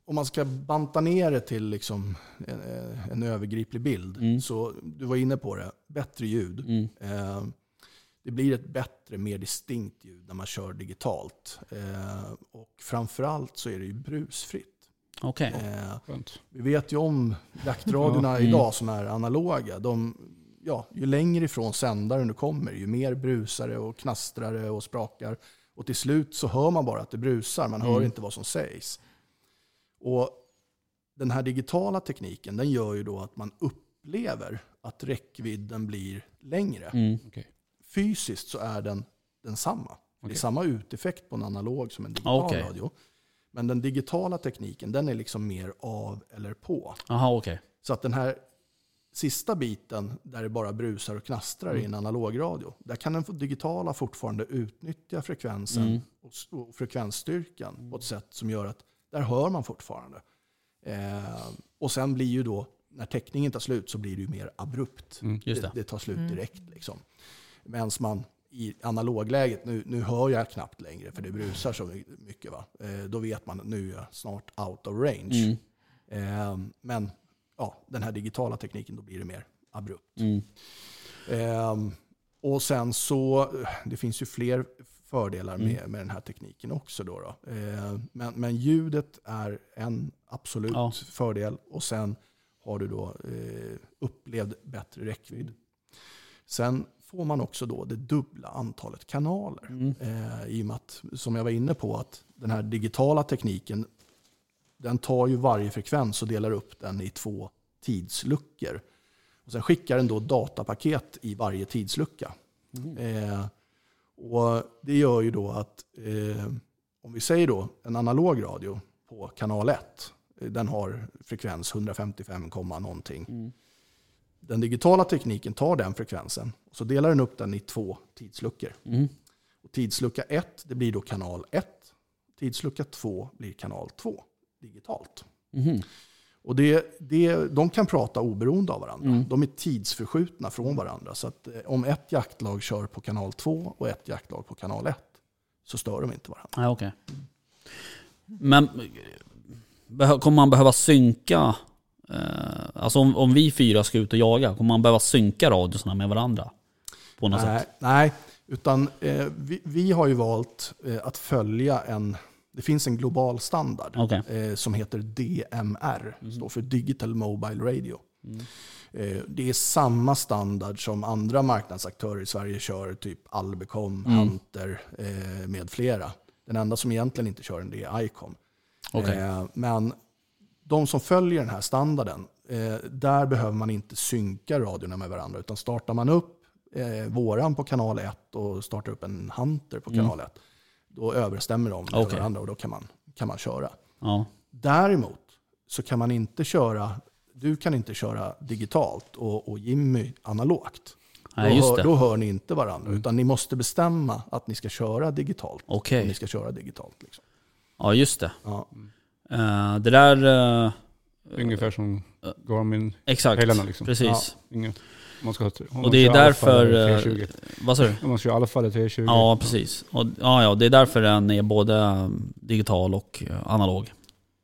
om man ska banta ner det till liksom en, eh, en övergriplig bild, Mm. så du var inne på det, bättre ljud. Mm. Eh, det blir ett bättre, mer distinkt ljud när man kör digitalt. Eh, och framförallt så är det ju brusfritt. Okej. Eh, Skönt. vi vet ju om jaktradiorna Ja. Mm. idag som är analoga. De, ja, ju längre ifrån sändaren du kommer, ju mer brusare och knastrare och sprakar. Och till slut så hör man bara att det brusar, man hör Mm. inte vad som sägs. Och den här digitala tekniken, den gör ju då att man upplever att räckvidden blir längre. Mm. Fysiskt så är den densamma. Det är Okej. samma uteffekt på en analog som en digital Okej. radio. Men den digitala tekniken, den är liksom mer av eller på. Aha, okej. Så att den här sista biten där det bara brusar och knastrar i Mm. en analogradio, där kan den digitala fortfarande utnyttja frekvensen Mm. och, s- och frekvensstyrkan på ett sätt som gör att där hör man fortfarande. Eh, och sen blir ju då, när täckningen tar slut så blir det ju mer abrupt. Mm. Just det. det, tar slut direkt. Liksom. Medan man i analogläget, nu, nu hör jag knappt längre för det brusar så mycket. Va? Eh, då vet man att nu är jag snart out of Mm. range. Ehm, men ja, den här digitala tekniken, då blir det mer abrupt. Mm. Ehm, och sen så, det finns ju fler fördelar Mm. med, med den här tekniken också. Då då. Ehm, men, men ljudet är en absolut Ja. fördel. Och sen har du då eh, upplevd bättre räckvidd. Sen får man också då det dubbla antalet kanaler. Mm. Eh, I och med att, som jag var inne på, att den här digitala tekniken den tar ju varje frekvens och delar upp den i två tidsluckor. Och sen skickar den då datapaket i varje tidslucka. Eh, och det gör ju då att, eh, om vi säger då en analog radio på kanal 1, eh, den har frekvens 155, komma någonting. Mm. Den digitala tekniken tar den frekvensen och så delar den upp den i två tidsluckor. Mm. Och tidslucka 1 det blir då kanal 1. Tidslucka 2 blir kanal 2 digitalt. Mhm. Och det, det, de kan prata oberoende av varandra. Mm. De är tidsförskjutna från varandra. Så att eh, om ett jaktlag kör på kanal 2 och ett jaktlag på kanal 1 så stör de inte varandra. Ja, okej. Men behö- kommer man behöva synka? Eh, alltså om, om vi fyra ska ut och jaga, kommer man behöva synka radiosarna med varandra? På något Nej, sätt? nej, utan eh, vi, vi har ju valt eh, att följa en... Det finns en global standard Okej. eh, som heter DMR. Står för Digital Mobile Radio. Mm. Eh, Det är samma standard som andra marknadsaktörer i Sverige kör, typ Albecom, Mm. Hunter eh, med flera. Den enda som egentligen inte kör den det är Icom. Okej. Eh, Men de som följer den här standarden, eh, där behöver man inte synka radiorna med varandra, utan startar man upp eh, våran på kanal 1 och startar upp en Hunter på kanal 1, då överstämmer de med Mm. Okej. varandra och då kan man, kan man köra. Ja. Däremot så kan man inte köra, du kan inte köra digitalt och, och Jimmy analogt. Nej, då, just hör, det. Mm. då hör ni inte varandra, utan ni måste bestämma att ni ska köra digitalt. Okej. Om ni ska köra digitalt. Liksom. Ja, just det. Ja. Eh, det där... eh, Ungefär som Garmin. exakt. Pelarna liksom. Precis. Ingen, om man ska, ha- om man Och det är kör Alfa därför, eller 320. Vad sa du? Om man kör Alfa eller 320. Ja, precis. Och, ja, ja, det är därför den är både eh, digital och eh, analog.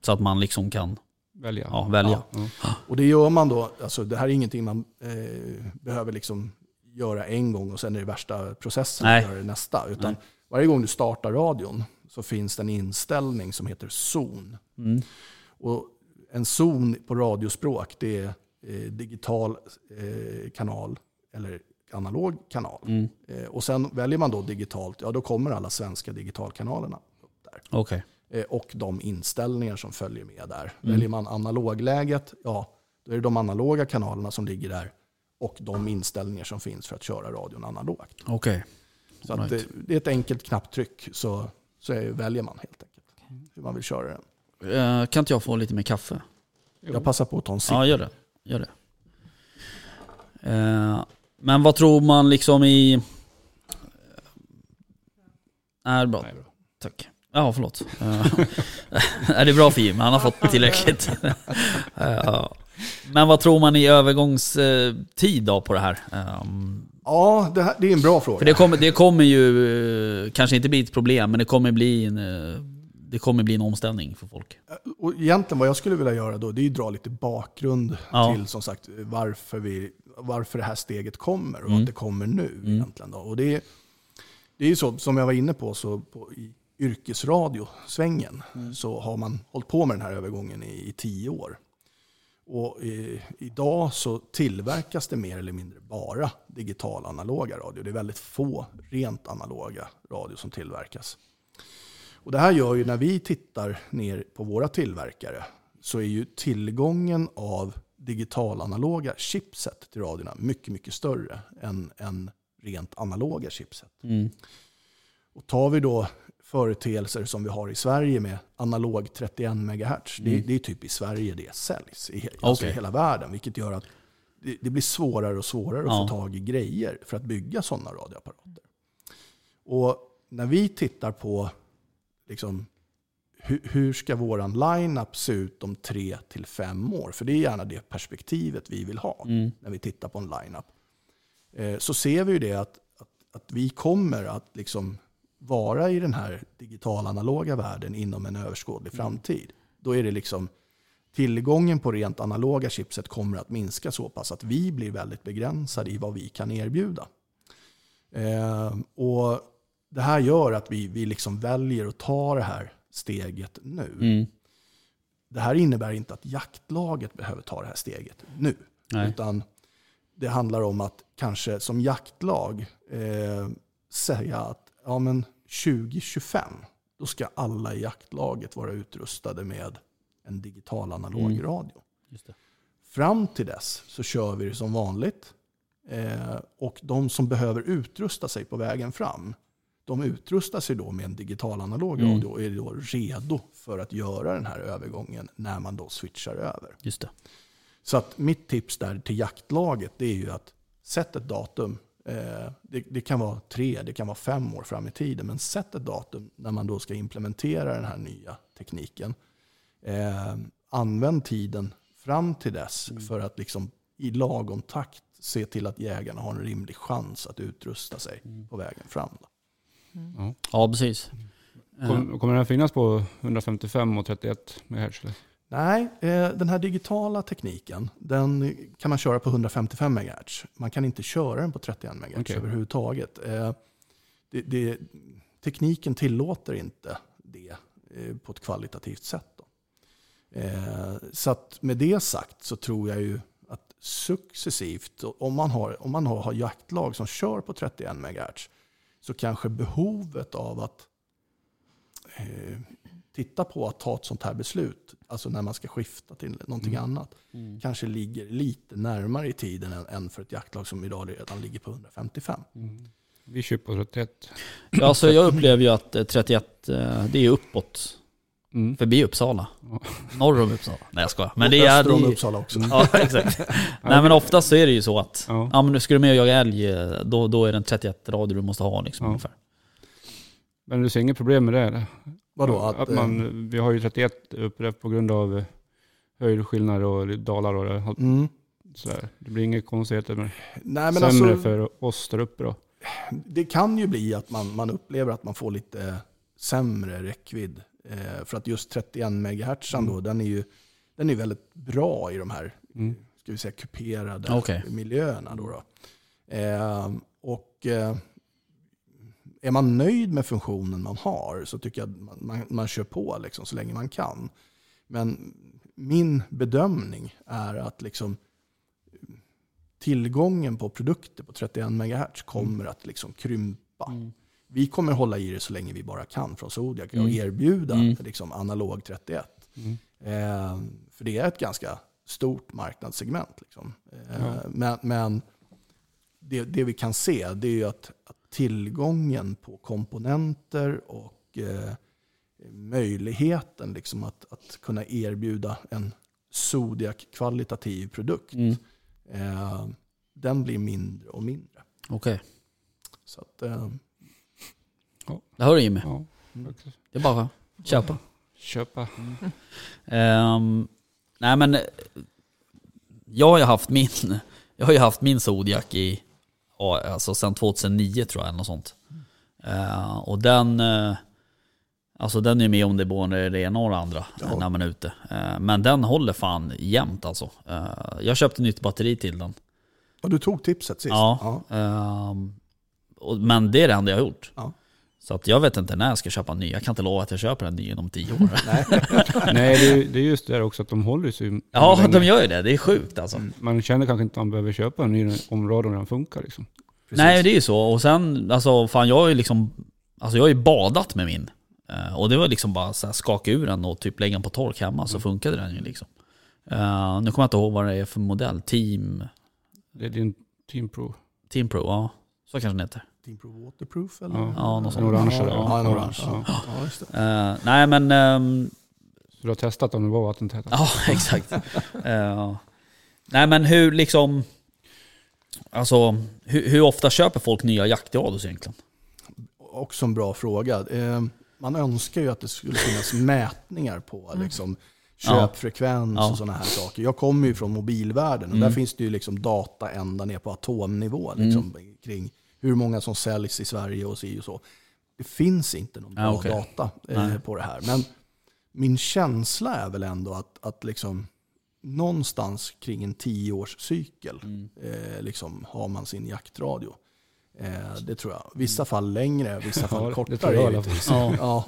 Så att man liksom kan Välja. ja, välja. Ja. Och det gör man då, alltså det här är ingenting man eh, behöver liksom göra en gång och sen är det värsta processen Nej. att göra det nästa. Utan Nej. varje gång du startar radion så finns det en inställning som heter zon. Mm. Och en zon på radiospråk det är eh, digital eh, kanal eller analog kanal. Mm. Eh, och sen väljer man då digitalt, ja då kommer alla svenska digitalkanalerna. Okej. Eh, och de inställningar som följer med där. Mm. Väljer man analogläget, ja då är det de analoga kanalerna som ligger där och de inställningar som finns för att köra radion analogt. Okej. Så att, eh, Right. det är ett enkelt knapptryck så, så är, väljer man helt enkelt hur man vill köra den. Eh, kan inte jag få lite mer kaffe? Jo. Jag passar på att ta en sipp. Ja, gör det. Gör det. Eh, men vad tror man liksom i... Är bra. Nej, bra. Tack. Ja, förlåt. Eh, är det bra för Jim? Han har fått tillräckligt. Eh, men vad tror man i övergångstid då på det här? Eh, Ja, det, här, det är en bra fråga. för det kommer, det kommer ju eh, kanske inte bli ett problem, men det kommer bli en, eh, det kommer bli en omställning för folk. Eh, Och egentligen vad jag skulle vilja göra då, det är ju dra lite bakgrund Ja. till som sagt varför vi, varför det här steget kommer och Mm. att det kommer nu. Mm. egentligen. Då. Och det, är- det är ju så, som jag var inne på, så på, i yrkesradiosvängen Mm. så har man hållit på med den här övergången i, i tio år. Och eh, idag så tillverkas det mer eller mindre bara digital analoga radio. Det är väldigt få rent analoga radio som tillverkas. Och det här gör ju när vi tittar ner på våra tillverkare så är ju tillgången av digital-analoga chipset till radiorna mycket, mycket större än, än rent analoga chipset. Mm. Och tar vi då företeelser som vi har i Sverige med analog 31 MHz, det, Mm. det är typ i Sverige det säljs, i, he- alltså i Okej. hela världen, vilket gör att det, det blir svårare och svårare Ja. att få tag i grejer för att bygga sådana radioapparater. Och när vi tittar på liksom, hur, hur ska våran line-up se ut om tre till fem år, för det är gärna det perspektivet vi vill ha Mm. när vi tittar på en line-up, eh, så ser vi ju det att, att, att vi kommer att liksom vara i den här digital-analoga världen inom en överskådlig framtid. Då är det liksom tillgången på rent analoga chipset kommer att minska så pass att vi blir väldigt begränsade i vad vi kan erbjuda. Eh, och det här gör att vi, vi liksom väljer att ta det här steget nu. Mm. Det här innebär inte att jaktlaget behöver ta det här steget nu. Nej. Utan det handlar om att kanske som jaktlag eh, säga att ja, men 2025 då ska alla i jaktlaget vara utrustade med en digital analog Mm. radio. Just det. Fram till dess så kör vi det som vanligt. Eh, och de som behöver utrusta sig på vägen fram, de utrustar sig då med en digital analog Mm. radio och är då redo för att göra den här övergången när man då switchar över. Just det. Så att mitt tips där till jaktlaget det är ju att sätt ett datum. Eh, det, det kan vara tre, det kan vara fem år fram i tiden. Men sätt ett datum när man då ska implementera den här nya tekniken. Eh, använd tiden fram till dess för att liksom i lagom takt se till att jägarna har en rimlig chans att utrusta sig på vägen fram. Då. Ja, precis. Eh, Kom, kommer den här finnas på 155 och 31 MHz? eller? Nej, eh, den här digitala tekniken den kan man köra på 155 MHz. Man kan inte köra den på 31 MHz Okej. överhuvudtaget. Eh, Det, det, tekniken tillåter inte det eh, på ett kvalitativt sätt. Då. Eh, Så att med det sagt så tror jag ju att successivt, om man har, om man har, har jaktlag som kör på 31 MHz, så kanske behovet av att eh, titta på att ta ett sånt här beslut, alltså när man ska skifta till någonting annat, Mm. kanske ligger lite närmare i tiden än, än för ett jaktlag som idag redan ligger på 155. Mm. Vi kör på 31. Ja, alltså, jag upplever ju att eh, 31, eh, det är uppåt. Mm. Förbi Uppsala. Ja. Norr om Uppsala. Nej jag skojar. Men Och det är... Öster om det är- Uppsala också. Ja, exakt. Nej men oftast så är det ju så att, Ja. ja men nu ska du med och jaga älg, eh, då, då är det en 31 radio du måste ha liksom Ja. ungefär. Men du ser inget problem med det? Eller? Vadå? Att, Att, eh, man, vi har ju 31 upprep på grund av eh, höjdskillnader och dalar och det, mm. sådär. Det blir inga konstigheter med det. Nej, men Sämre alltså, för oss där uppe då. Det kan ju bli att man, man upplever att man får lite eh, sämre räckvidd. Eh, för att just 31 MHz Mm. då, den är ju den är väldigt bra i de här Mm. ska vi säga, kuperade Okej. miljöerna. Då då. Eh, och eh, är man nöjd med funktionen man har så tycker jag att man, man, man kör på liksom, så länge man kan. Men min bedömning är att liksom, tillgången på produkter på 31 MHz kommer Mm. att liksom, krympa. Vi kommer hålla i det så länge vi bara kan från Zodiac och Mm. erbjuda Mm. liksom, analog 31. Mm. Eh, för det är ett ganska stort marknadssegment. Liksom. Eh, Ja. Men, men det, det vi kan se det är ju att, att tillgången på komponenter och eh, möjligheten liksom att, att kunna erbjuda en Zodiac-kvalitativ produkt, Mm. eh, den blir mindre och mindre. Okej, Så att, eh, det hör du Jimmy. Ja. Det är bara att köpa. Köpa. Mm. Ehm, nej men, eh, jag har ju haft min, jag har ju haft min Zodiac i, ja, alltså sedan 2009 tror jag eller något sånt. Eh, och den, eh, alltså den är ju med om det är både det ena och det andra eh, Ja. när man är Ehm, ute. Eh, men den håller fan jämnt alltså. Eh, jag köpte nytt batteri till den. Och du tog tipset sist? Ja. ehm, och, men det är det enda jag har gjort. Ja. Så att jag vet inte när jag ska köpa en ny. Jag kan inte lova att jag köper en ny inom tio år. Nej. Nej, det är, ju- det är just det där också att de håller sig ju ja, länge. de gör ju det. Det är sjukt alltså. Man känner kanske inte att man behöver köpa en ny område om den funkar. Liksom. Precis. Nej, det är ju så. Och sen, alltså fan jag har ju liksom, alltså jag har ju badat med min. Eh, Och det var liksom bara så här, skaka ur den och typ lägga den på tork hemma så funkade den ju liksom. Eh, nu kommer jag inte ihåg vad det är för modell. Team, Det är din Team Pro. Team Pro, ja. Så kanske den heter. Team Pro Waterproof eller? Ja, Ja, något en sånt. orange. Ja, där, ja, en orange. Ja. Ja. Ja, just det. Eh, nej men, ehm, Så du har testat om det var vattentäta? ja exakt. Eh, nej men hur liksom, alltså hur, hur ofta köper folk nya jaktdiados egentligen? Också en bra fråga. Eh, Man önskar ju att det skulle finnas mätningar på liksom, köpfrekvens Mm. Ja. och sådana här saker. Jag kommer ju från mobilvärlden och där Mm. finns det ju liksom data ända ner på atomnivå liksom, kring hur många som säljs i Sverige och si och så. Det finns inte någon bra Ja, okej. data eh, Nej. på det här. Men min känsla är väl ändå att, att liksom, någonstans kring en tioårscykel eh, liksom, har man sin jaktradio. Eh, det tror jag. Mm. Vissa fall längre, vissa fall Ja, det kortare. tror jag i alla givetvis. fall. Ja.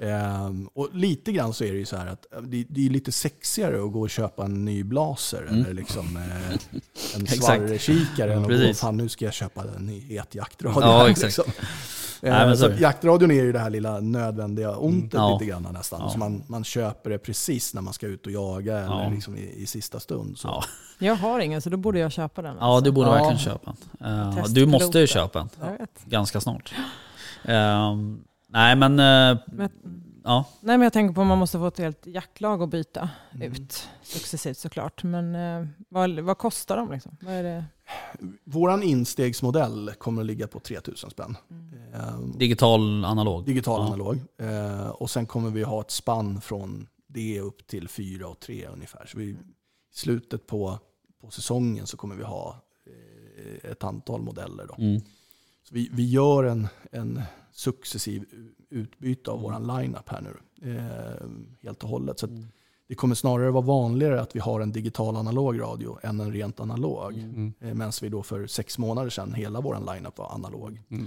Ehm, och lite grann så är det ju så här att eh, det, det är lite sexigare att gå och köpa en ny blaser Mm. eller liksom eh, en svarrekikare än att gå, Precis. fan nu ska jag köpa en ny het jaktradio. Ja, här", exakt. Eh, Nej, men så så är att det. jaktradion är ju det här lilla nödvändiga ontet Mm. Ja. lite grann nästan. Ja. Så man, man köper det precis när man ska ut och jaga eller Ja. liksom i, i sista stund. Så. Ja. Jag har ingen så då borde jag köpa den. Ja, du borde Ja. verkligen köpa en. Eh, Testpiloter. du måste ju köpa en Jag vet. ganska snart. Ehm, nej men, eh, Men, ja. nej, men jag tänker på att man måste få ett helt jaktlag att byta Mm. mm. ut successivt såklart. Men eh, vad, vad kostar de? Liksom? Vad är det? Vår instegsmodell kommer att ligga på 3000 spänn. Ehm, digital analog. Digital Ja. analog. Eh, och sen kommer vi ha ett spann från det upp till 4 och 3 ungefär. Så vi, i slutet på, på säsongen så kommer vi ha eh, ett antal modeller. Då. Mm. Så vi, vi gör en, en successiv u- utbyte av vår lineup här nu. Eh, helt och hållet. Så att Mm. det kommer snarare vara vanligare att vi har en digital analog radio än en rent analog. Mm. Eh, Medan vi då för sex månader sedan, hela vår lineup var analog. Mm.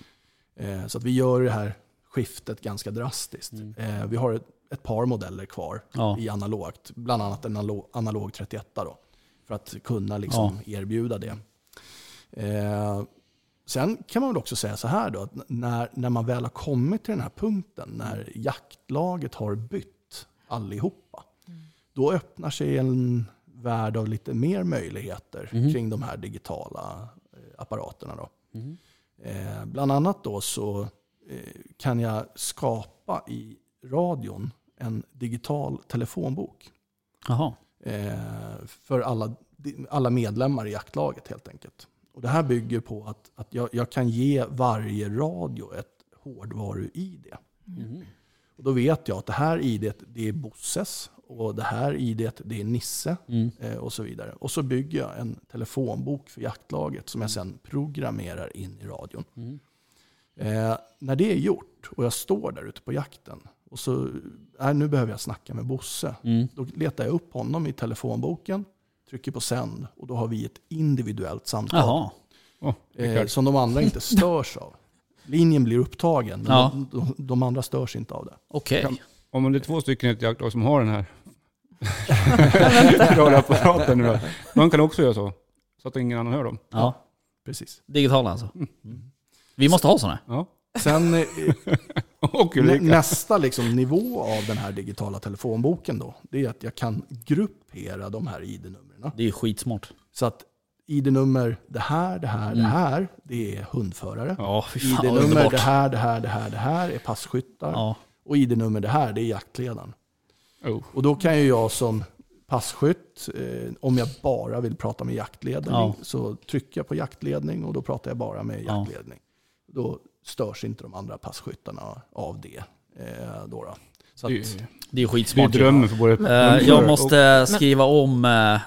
Eh, Så att vi gör det här skiftet ganska drastiskt. Eh, Vi har ett, ett par modeller kvar Ja. i analogt, bland annat en analog, analog 31 då, för att kunna liksom erbjuda det. Eh, Sen kan man väl också säga så här då, att n- när, när man väl har kommit till den här punkten, när jaktlaget har bytt allihopa, då öppnar sig en värld av lite mer möjligheter kring de här digitala eh, apparaterna. Då. Eh, bland annat då så eh, kan jag skapa i radion en digital telefonbok Jaha. eh, för alla, alla medlemmar i jaktlaget helt enkelt. Och det här bygger på att, att jag, jag kan ge varje radio ett hårdvaru-ID. Och då vet jag att det här ID det är Bosses och det här ID det är Nisse eh, och så vidare. Och så bygger jag en telefonbok för jaktlaget som jag sen programmerar in i radion. Eh, när det är gjort och jag står där ute på jakten och så, äh, nu behöver jag snacka med Bosse. Då letar jag upp honom i telefonboken, trycker på sänd och då har vi ett individuellt samtal Jaha. Åh, eh, Rickard. som de andra inte störs av. Linjen blir upptagen, men Ja. de, de, de andra störs inte av det. Okej. Kan- Om det är två stycken i ett jaktlag som har den här radioapparaten nu då. De kan också göra så. Så att ingen annan hör dem. Ja. Precis. Digital alltså. Mm. Vi måste ha sådana. Ja. Sen eh, Och nä, Ulrika. nästa liksom, nivå av den här digitala telefonboken då, det är att jag kan gruppera de här ID-numren. Det är ju skitsmart. Så att ID-nummer det här, det här, det här, det är hundförare. Mm. Ja, fy fan vad ID-nummer underbart. det här, det här, det här, det här är passkyttar. Ja. Och ID-nummer det här, det är jaktledaren. Oh. Och då kan ju jag som passkytt, eh, om jag bara vill prata med jaktledning, Ja. så trycker jag på jaktledning och då pratar jag bara med Ja. jaktledning. Då störs inte de andra passkyttarna av det. Eh, då då. Så Det är ju- att, Det är ju det är ju skitsmart. ju. drömmen för både Eh, hundförare jag måste skriva om eh, eh,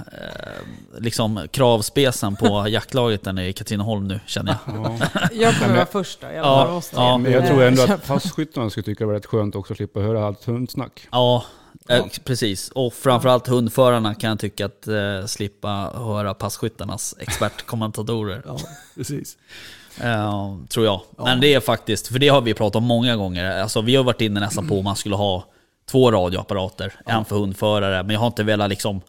liksom kravspecen på jaktlaget där nere i Katrineholm nu känner jag. och- Ja. Jag kommer men- vara först då. Jag Ja, bara, måste. ja. Men jag tror ändå Eh, att passkyttarna skulle tycka det var rätt skönt också att slippa höra allt hundsnack. Ja, Eh, Ja. Precis, och framförallt hundförarna kan jag tycka att eh, slippa höra passkyttarnas expertkommentatorer. Ja, precis. Eh, tror jag. Men det är faktiskt, för det har vi pratat om många gånger. Alltså, vi har varit inne nästan på om man skulle ha två radioapparater. En för hundförare, men jag har inte velat liksom...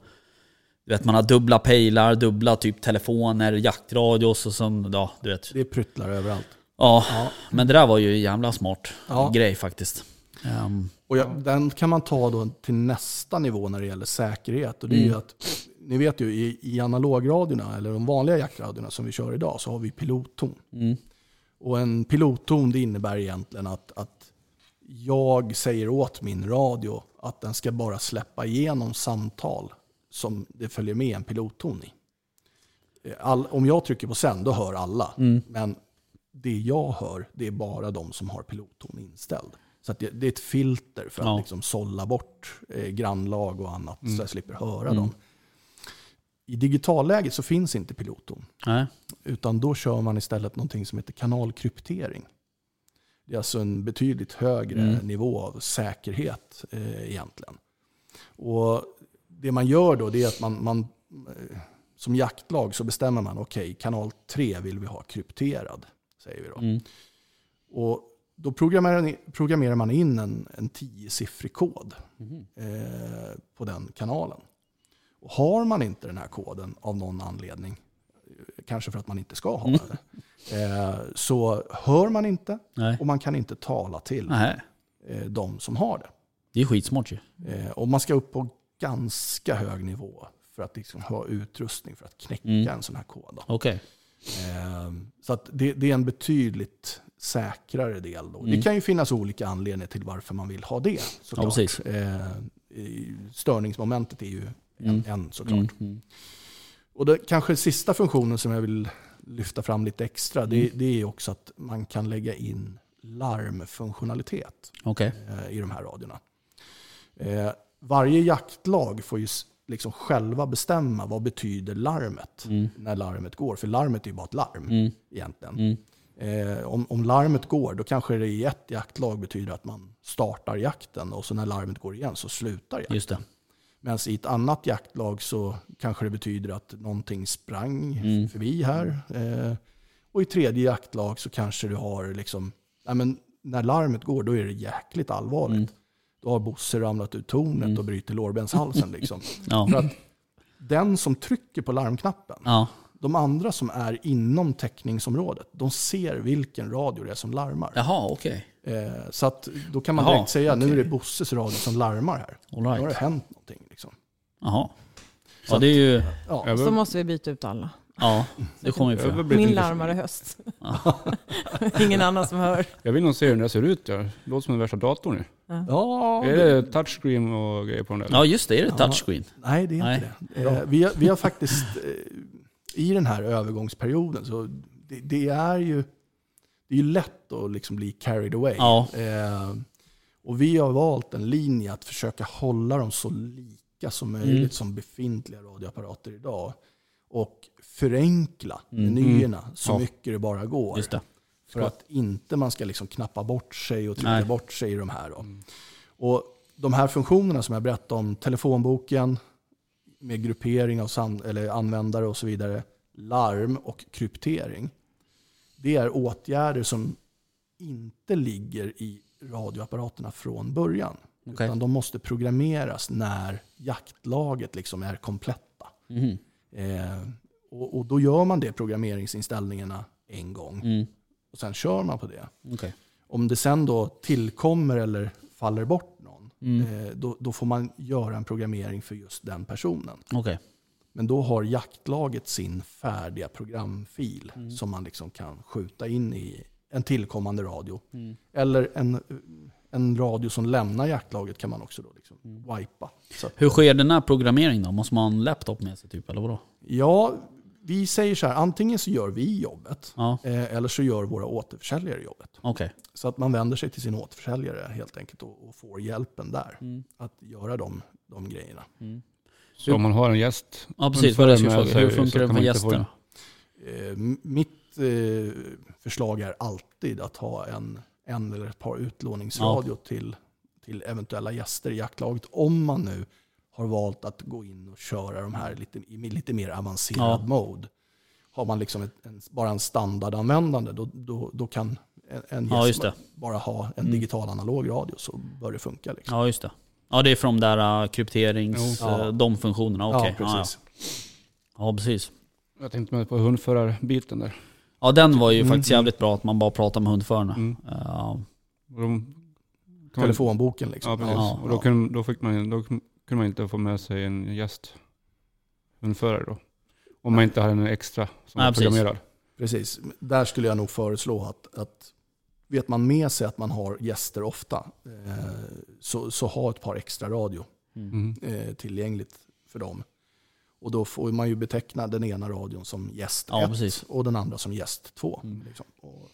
Du vet, man har dubbla pejlar, dubbla typ telefoner, jaktradios och som, ja, du vet. Det pruttlar överallt. Ja, men det där var ju en jävla smart Ja. grej faktiskt. Ehm, Och jag, Den kan man ta då till nästa nivå när det gäller säkerhet. Och det är ju att, ni vet ju i, i analogradiorna, eller de vanliga jaktradiorna som vi kör idag, så har vi pilotton. Och en pilotton det innebär egentligen att, att jag säger åt min radio att den ska bara släppa igenom samtal som det följer med en pilotton i. Eh, All, om jag trycker på sänd, då hör alla. Men det jag hör, det är bara de som har pilotton inställd. Så att det, det är ett filter för att Ja. liksom sålla bort eh, grannlag och annat, så jag slipper höra dem. I digitalläget så finns inte pilotton. nej. Utan då kör man istället någonting som heter kanalkryptering. Det är alltså en betydligt högre nivå av säkerhet eh, egentligen. Och Det man gör då det är att man, man eh, som jaktlag så bestämmer man okej, kanal 3 vill vi ha krypterad. säger vi då. Och Då programmerar, programmerar man in en, en tio-siffrig kod eh, på den kanalen. Och har man inte den här koden av någon anledning, kanske för att man inte ska ha den, eh, så hör man inte Nej. och man kan inte tala till nej. eh, de som har det. Det är skitsmart ju. Eh, och man ska upp på ganska hög nivå för att liksom ha utrustning för att knäcka Mm. en sån här kod. Då. Okej. Eh, så att det, det är en betydligt säkrare del. Då. Det kan ju finnas olika anledningar till varför man vill ha det. Mm. Ja, Såklart. precis. eh, i- störningsmomentet är ju en, en såklart. Mm, mm. Och det, kanske sista funktionen som jag vill lyfta fram lite extra, det, Mm. det är också att man kan lägga in larmfunktionalitet Okej. eh, i de här radiorna. Eh, varje jaktlag får ju s- liksom själva bestämma vad betyder larmet Mm. när larmet går. För larmet är ju bara ett larm egentligen. Mm. Eh, om, om larmet går, då kanske det i ett jaktlag betyder att man startar jakten och så när larmet går igen så slutar jakten. Just det. Medan i ett annat jaktlag så kanske det betyder att någonting sprang Mm. förbi här. Eh, och i tredje jaktlag så kanske du har liksom, nej men när larmet går då är det jäkligt allvarligt. Mm. Då har Bosse ramlat ur tornet och bryter lårbenshalsen. Liksom. Ja. För att den som trycker på larmknappen, Ja. de andra som är inom täckningsområdet, de ser vilken radio det är som larmar. Jaha, okej. Eh, så att då kan man Jaha, direkt säga, nu okej. är det Bosses radio som larmar här. All Nu har det right. hänt någonting. Liksom. Jaha. Ja, det är ju... Ja. Jag Så behöver, måste vi byta ut alla. Ja, det kommer ju jag, behöver för. bli Min lite- larmar i höst. Ingen annan som hör. jag vill nog se hur den där ser ut. Ja. Det låter som den värsta datorn nu. Ja, Är det touchscreen och grejer på den där? Ja, just det. Är det touchscreen? Nej, det är Nej. inte det. Eh, vi, har, vi har faktiskt, eh, i den här övergångsperioden, så det, det är ju det är ju lätt att liksom bli carried away. Ja. Eh, och vi har valt en linje att försöka hålla dem så lika som Mm. möjligt som befintliga radioapparater idag. Och förenkla menyerna så Mm. Ja. mycket det bara går. Just det. För att inte man ska liksom knappa bort sig och trycka Nej. Mm. bort sig i de här. Då. Och de här funktionerna som jag berättade om, telefonboken med gruppering av sam- eller användare och så vidare, larm och kryptering. Det är åtgärder som inte ligger i radioapparaterna från början. Okej. Utan de måste programmeras när jaktlaget liksom är kompletta. Mhm. Eh, och, och då gör man det programmeringsinställningarna en gång. Mm. Och sen kör man på det. Okej. Om det sen då tillkommer eller faller bort någon, eh, då, då får man göra en programmering för just den personen. Okej. Men då har jaktlaget sin färdiga programfil som man liksom kan skjuta in i en tillkommande radio. Eller en, en radio som lämnar jaktlaget kan man också då liksom wipa. Så att, Hur sker den här programmeringen då? Måste man ha en laptop med sig typ, eller vadå? ja, vi säger så här, antingen så gör vi jobbet Ja, eh, eller så gör våra återförsäljare jobbet. okej. Så att man vänder sig till sin återförsäljare helt enkelt och, och får hjälpen där. Mm. Att göra de, de grejerna. Så om man har en gäst. Ja, precis. Vad jag skulle fråga. Hur funkar det för gästerna? Eh, m- mitt eh, förslag är alltid att ha en, en eller ett par utlåningsradio till, till eventuella gäster i jaktlaget. Om man nu har valt att gå in och köra de här lite, i lite mer avancerad Ja. mode. Har man liksom ett, en, bara en standardanvändande då, då, då kan en, en Ja, gäst just det. bara ha en Mm. digital analog radio så bör det funka. Liksom. Ja, just det. Ja, det är från de där äh, krypterings... Jo. Ja. äh, de funktionerna, okej. ja, ja. precis. ja, precis. Jag tänkte med på hundförarbiten där. Ja, den var ju Mm. faktiskt jävligt bra att man bara pratar med hundförarna. Mm. Ja, Och de, kan man- Telefonboken liksom. Ja, precis. Ja. Och då kunde, då, fick man, då kunde man inte få med sig en gäst, en förare då. Om man inte hade en extra som Nej, var precis. programmerad. Precis. Där skulle jag nog föreslå att, att vet man med sig att man har gäster ofta, eh, så, så ha ett par extra radio mm. Mm. eh, tillgängligt för dem. Och då får man ju beteckna den ena radion som gäst Ja, 1 precis. och den andra som gäst 2. Mm. Liksom. Och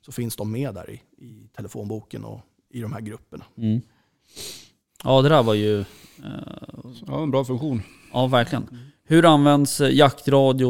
så finns de med där i, i telefonboken och i de här grupperna. Mm. ja det där var ju... äh, Så, Ja, en bra funktion. ja, verkligen. Hur används eh, jaktradio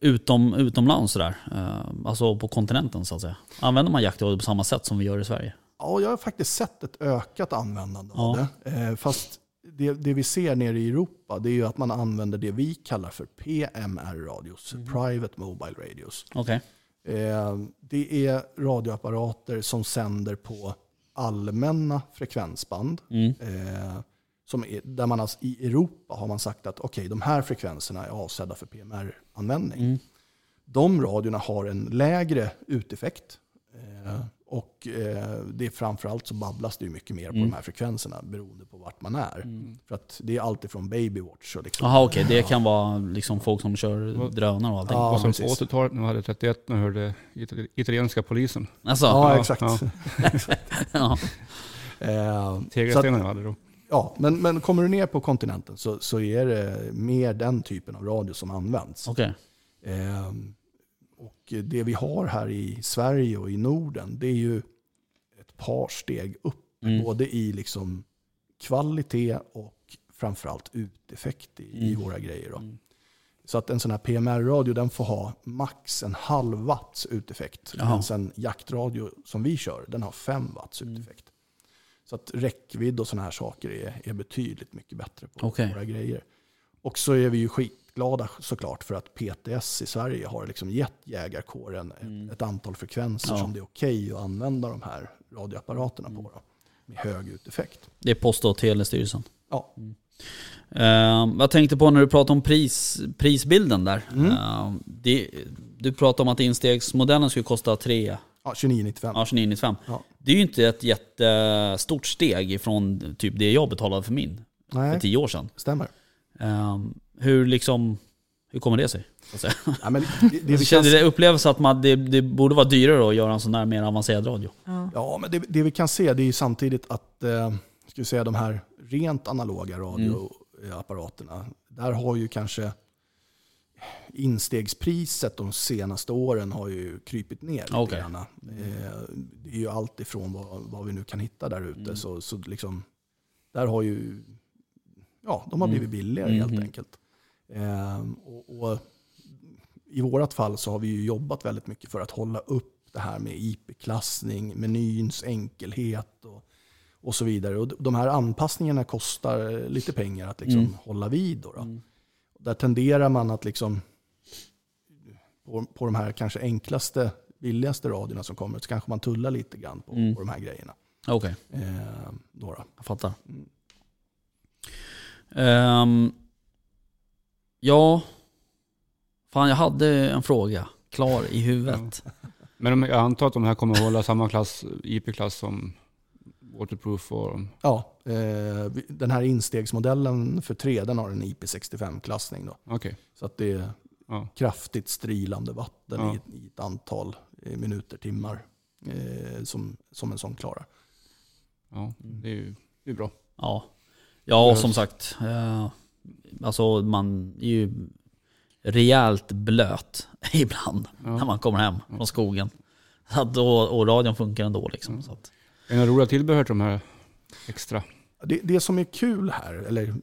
utom, utomlands sådär? Äh, alltså på kontinenten så att säga. Använder man jaktradio på samma sätt som vi gör i Sverige? Ja, jag har faktiskt sett ett ökat användande av Ja. det. Eh, Fast det, det vi ser nere i Europa det är ju att man använder det vi kallar för PMR-radios, Private Mobile Radios. Okej. Eh, Det är radioapparater som sänder på allmänna frekvensband. Mm. Eh, som är, där man alltså, I Europa har man sagt att okej, de här frekvenserna är avsedda för PMR-användning. Mm. De radiorna har en lägre uteffekt. Eh, och eh, det är framförallt så babblas det ju mycket mer på Mm. de här frekvenserna beroende på vart man är. Mm. För att det är alltid från babywatch och liksom. Jaha okej, det kan vara liksom folk som kör Vad- drönare och allting. Ja, och som på precis. 80-talet när man hade 31 när jag hörde itali- italienska polisen. Alltså, Ja, Ja, exakt. ja. ja. Eh, så att- Tegelstenen jag hade då. Ja, men, men kommer du ner på kontinenten så, så är det mer den typen av radio som används. okej. Ehm, och det vi har här i Sverige och i Norden, det är ju ett par steg upp. Mm. Både i liksom kvalitet och framförallt uteffekt i, i Mm. våra grejer. Då. Mm. Så att en sån här PMR-radio den får ha max en halv watts uteffekt. Jaha. Men sen jaktradio som vi kör, den har fem watts Mm. uteffekt. Så att räckvidd och såna här saker är, är betydligt mycket bättre på Okej. våra grejer. Och så är vi ju skitglada såklart för att PTS i Sverige har liksom gett jägarkåren ett- Mm. ett antal frekvenser Ja. Mm. som det är okej att använda de här radioapparaterna på. Då, med hög uteffekt. Det är Post och telestyrelsen. Ja. Mm. Eh, jag tänkte på när du pratade om pris, prisbilden där. Mm. Eh, det, du pratade om att instegsmodellen skulle kosta 3 Ja, 2995. ja, 29,95. Ja. Det är ju inte ett jättestort steg ifrån typ det jag betalade för min för Nej, 10 år sedan. stämmer. Eh, hur, liksom, hur kommer det sig? så att säga? Ja, men det, det, vi Jag kan, kände det upplevs att man, det, det borde vara dyrare att göra en sån där mer avancerad radio. Ja. ja, men det, det vi kan se det är ju samtidigt att eh, ska vi säga, de här rent analoga Mm. radioapparaterna, där har ju kanske instegspriset de senaste åren har ju krypit ner lite Okej. grann. Eh, Det är ju allt ifrån vad, vad vi nu kan hitta där ute. Mm. Så, så liksom, där har ju, ja, de har Mm. blivit billigare Mhm. helt enkelt. Ehm, och, och I vårt fall så har vi ju jobbat väldigt mycket för att hålla upp det här med IP-klassning, menyns enkelhet och, och så vidare. Och d- de här anpassningarna kostar eh, lite pengar att liksom Mm. hålla vid. Då då. Där tenderar man att liksom, på, på de här kanske enklaste, billigaste radierna som kommer, så kanske man tullar lite grann på, Mm. på de här grejerna. Okej. Eh, då då. Jag fattar. Mm. Ehm, ja. Fan, jag hade en fråga klar i huvudet. Men de, jag antar att de här kommer att hålla samma klass, IP-klass som Waterproof och... Ja, eh, vi- den här instegsmodellen för 3, den har en IP65-klassning. då. Okej. Så att det är Ja. kraftigt strilande vatten Ja. i, ett- i ett antal eh, minuter, timmar eh, som, som en sån klarar. Ja, Mm. det är ju det är bra. Ja. Ja, och som sagt. eh, alltså man är ju rejält blöt ibland när Ja. man kommer hem från skogen. Så att då, och radion funkar ändå liksom. Så att, Är det några roliga tillbehör till de här extra? Det, det som är kul här, eller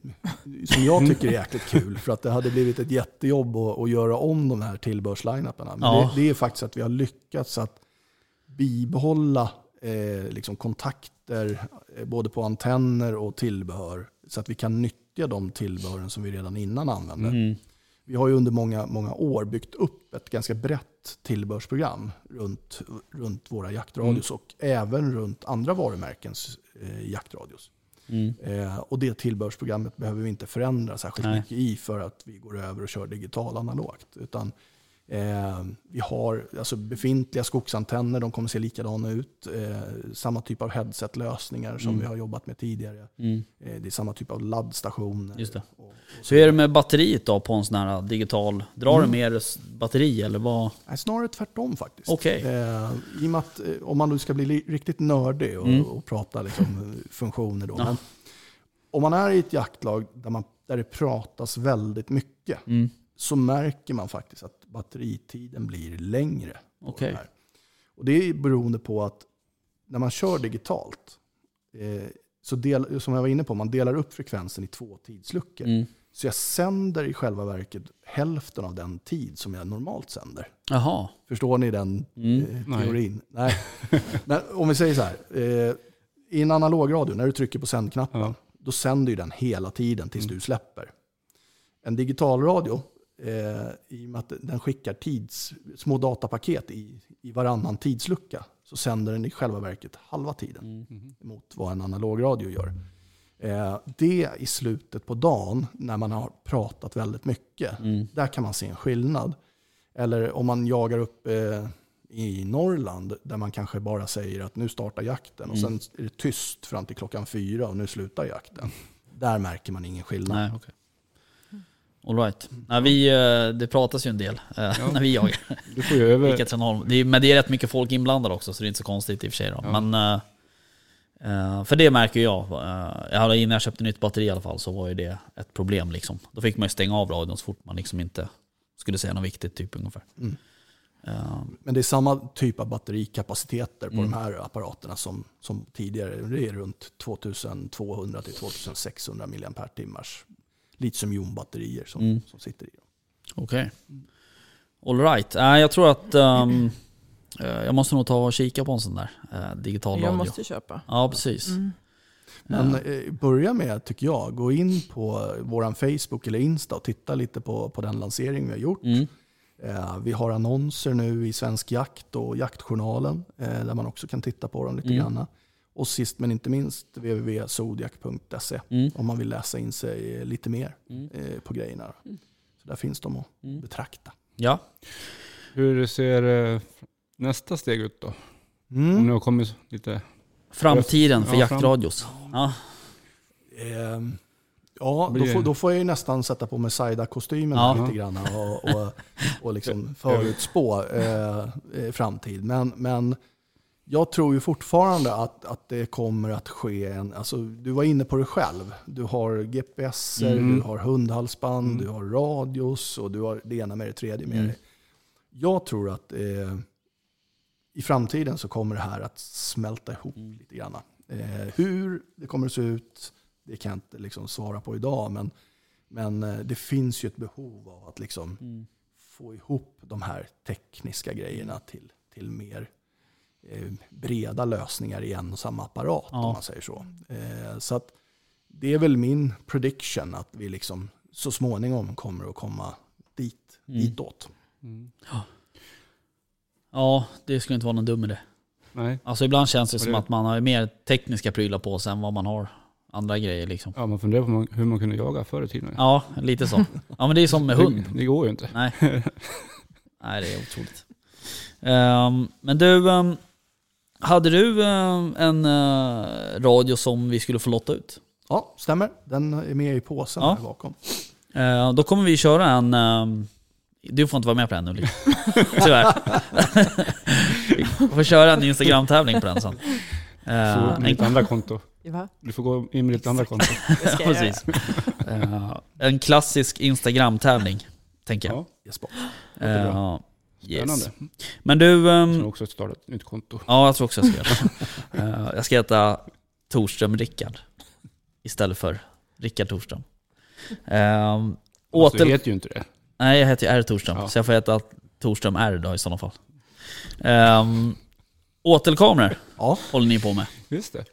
som jag tycker är jäkligt kul, för att det hade blivit ett jättejobb att, att göra om de här tillbehörslineuparna. Men Ja. det, det är faktiskt att vi har lyckats att bibehålla eh, eh, liksom kontakter, eh, både på antenner och tillbehör, så att vi kan nyttja de tillbehören som vi redan innan använde. Mm. Vi har ju under många, många år byggt upp ett ganska brett tillbehörsprogram runt, runt våra jaktradios Mm. och även runt andra varumärkens eh, jaktradios. Mm. Eh, och det tillbehörsprogrammet behöver vi inte förändra särskilt Nej. mycket i för att vi går över och kör digital analogt. Utan, eh, vi har alltså, befintliga skogsantenner, de kommer se likadana ut. Eh, samma typ av headsetlösningar som Mm. vi har jobbat med tidigare. Mm. Eh, det är samma typ av laddstationer. Just det. Och, och Så hur är det med batteriet då på en sån här digital? Drar Mm. det mer s- batteri eller vad? Nej, snarare tvärtom faktiskt. Okej. Eh, I och med att, eh, om man nu ska bli li- riktigt nördig och, Mm. och prata liksom, eh, funktioner då. Ja. Men, om man är i ett jaktlag där, man, där det pratas väldigt mycket Mm. så märker man faktiskt att batteritiden blir längre. på Okej. det här. Och det är beroende på att när man kör digitalt, eh, så del, som jag var inne på, man delar upp frekvensen i två tidsluckor. Mm. Så jag sänder i själva verket hälften av den tid som jag normalt sänder. Jaha. Förstår ni den Mm. eh, Nej. teorin? Nej. Men om vi säger så här, eh, i en analogradio, när du trycker på sändknappen, Ja. då sänder ju den hela tiden tills Mm. du släpper. En digitalradio, eh, i och med att den skickar tids, små datapaket i, i varannan tidslucka, så sänder den i själva verket halva tiden Mm. mot vad en analogradio gör. Eh, det i slutet på dagen, när man har pratat väldigt mycket, Mm. där kan man se en skillnad. Eller om man jagar upp eh, i Norrland där man kanske bara säger att nu startar jakten och Mm. sen är det tyst fram till klockan fyra och nu slutar jakten. Där märker man ingen skillnad. Nej, okej. All right. Nej, vi, eh, det pratas ju en del eh, när vi jagar. Du får ju över... Vilka Tranholm. Det är, men det är rätt mycket folk inblandade också så det är inte så konstigt i och för sig. Då. Ja. Men, eh, eh, för det märker jag. eh, jag hade, innan jag köpte nytt batteri i alla fall så var ju det ett problem. Liksom. Då fick man ju stänga av radion så fort man liksom inte skulle säga något viktigt typ ungefär. Mm. Eh, Men det är samma typ av batterikapaciteter på Mm. de här apparaterna som, som tidigare. Det är runt 2200 till 2600 mAh litiumjonbatterier som, Mm. som sitter i dem. Okej. All right. Nej, jag tror att ehm, eh, jag måste nog ta och kika på en sån där eh, digital Jag radio. måste ju köpa. Ja, precis. Mm. Men Ja. eh, börja med, tycker jag, gå in på vår Facebook eller Insta och titta lite på, på den lansering vi har gjort. Mm. Eh, vi har annonser nu i Svensk Jakt och Jaktjournalen eh, där man också kan titta på dem lite Mm. grann. Och sist men inte minst www.zodiac.se Mm. om man vill läsa in sig lite mer Mm. eh, på grejerna. Så där finns de att Mm. betrakta. Ja. Hur ser eh, nästa steg ut då? Mm. Om ni har kommit lite... Framtiden för Ja, fram- jaktradios. Ja. Ehm, Ja, då Blir- får, då får jag ju nästan sätta på mig Saida-kostymen Ja. här lite grann och, och, och liksom förutspå eh, eh, framtid. Men, men jag tror ju fortfarande att, att det kommer att ske en... Alltså, du var inne på det själv. Du har GPSer, Mm. du har hundhalsband, Mm. du har radios och du har det ena med det tredje med Mm. dig. Jag tror att eh, i framtiden så kommer det här att smälta ihop Mm. lite grann. Eh, hur det kommer att se ut, det kan jag inte liksom svara på idag. Men, men eh, det finns ju ett behov av att liksom Mm. få ihop de här tekniska grejerna till, till mer eh, breda lösningar i en och samma apparat. Ja. om man säger så. Eh, så att det är väl min prediction att vi liksom så småningom kommer att komma dit, Mm. ditåt. Mm. ja, det skulle inte vara någon dum idé. Nej. Alltså ibland känns det Och som det- att man har mer tekniska prylar på sig än vad man har andra grejer liksom. Ja, man funderar på hur man- hur man kunde jaga förr i tiden. Ja, lite så. Ja men det är som med hund. Det, det går ju inte. Nej. Nej, det är otroligt. Ehm, men du, ehm, hade du ehm, en eh, radio som vi skulle få lotta ut? Ja, stämmer. Den är med i påsen Ja. här bakom. Eh, då kommer vi köra en... ehm, du får inte vara med på den Ulrik. Tyvärr. vi får köra en Instagram-tävling på den sen. Eh, Så med en, ditt andra konto. Va? Du får gå in med ditt andra konto. Det ska jag göra. precis. Eh, en klassisk Instagram-tävling, tänker jag. Ja, Jesper. låter bra. Eh, yes. spännande. Men du, ehm, Jag har också startat ett nytt konto. Ja, jag tror också jag ska göra det. Eh, Jag ska heta Torström Rickard istället för Rickard Torström. Um, Fast åter... Du vet ju inte Alltså, det. Nej, jag heter ju R Torström, Ja. så jag får heta Torström R då i sådana fall. Um, Åtelkameror Ja. håller ni på med. Just det.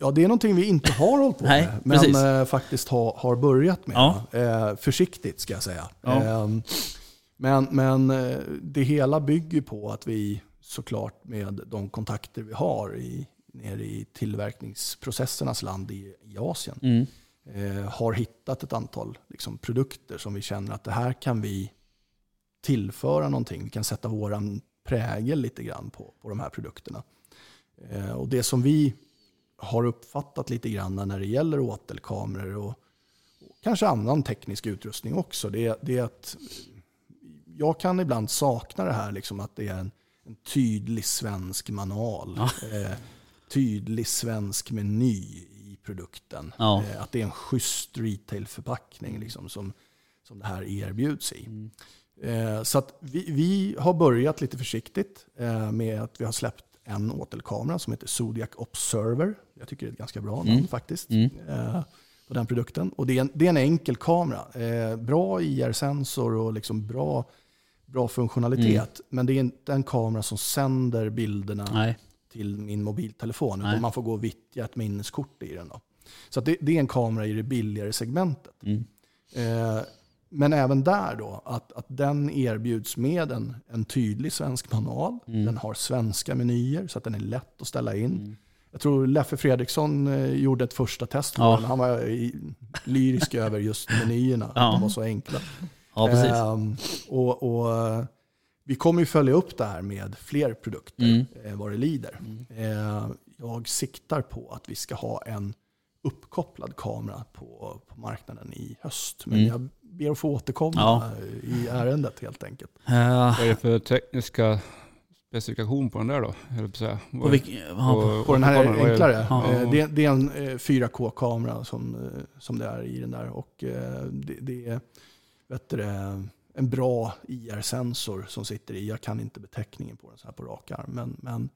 Ja, det är någonting vi inte har hållit på Nej, med, men precis. eh, faktiskt ha, har börjat med. Ja. Eh, försiktigt ska jag säga. Ja. Eh, men men eh, det hela bygger på att vi såklart med de kontakter vi har i, nere i tillverkningsprocessernas land i, i Asien Mm. eh, har hittat ett antal liksom, produkter som vi känner att det här kan vi tillföra någonting. Vi kan sätta våran prägel lite grann på, på de här produkterna. Eh, och det som vi har uppfattat lite grann när det gäller åtelkameror och, och kanske annan teknisk utrustning också, det, det är att jag kan ibland sakna det här liksom att det är en, en tydlig svensk manual. Eh, tydlig svensk meny i produkten. Ja. Eh, att det är en schysst retailförpackning liksom, som, som det här erbjuds i. Eh, så att vi, vi har börjat lite försiktigt eh, med att vi har släppt en åtelkamera som heter Zodiac Observer. Jag tycker det är ett ganska bra namn faktiskt. Eh, på den produkten. Och det är en, det är en enkel kamera. Eh, bra IR-sensor och liksom bra, bra funktionalitet. Men det är inte en kamera som sänder bilderna Nej. till min mobiltelefon. Nej. Utan man får gå och vittja ett minneskort i den. Då. Så att det, det är en kamera i det billigare segmentet. Mm. Eh, men även där då, att, att den erbjuds med en, en tydlig svensk manual. Mm. Den har svenska menyer så att den är lätt att ställa in. Jag tror Leffe Fredriksson eh, gjorde ett första test på Ja. den. Han var i, lyrisk över just menyerna, Ja. att de var så enkla. Ja, precis. Eh, Ehm, och, och, eh, vi kommer ju följa upp det här med fler produkter Mm. eh, vad det lider. Eh, jag siktar på att vi ska ha en uppkopplad kamera på, på marknaden i höst. Men Mm. jag ber att få återkomma Ja. eh, i ärendet helt enkelt. Eh, Vad är det för tekniska specifikation på den där då? Eller på, säga. på Vad- vilk- ja, På den här återkameran, vad är- enklare. Ja. Eh, det, det är en eh, 4K-kamera som, eh, som det är i den där. Och eh, det, det är vet du, det, en bra IR-sensor som sitter i. Jag kan inte beteckningen på den så här på rak arm. Men, men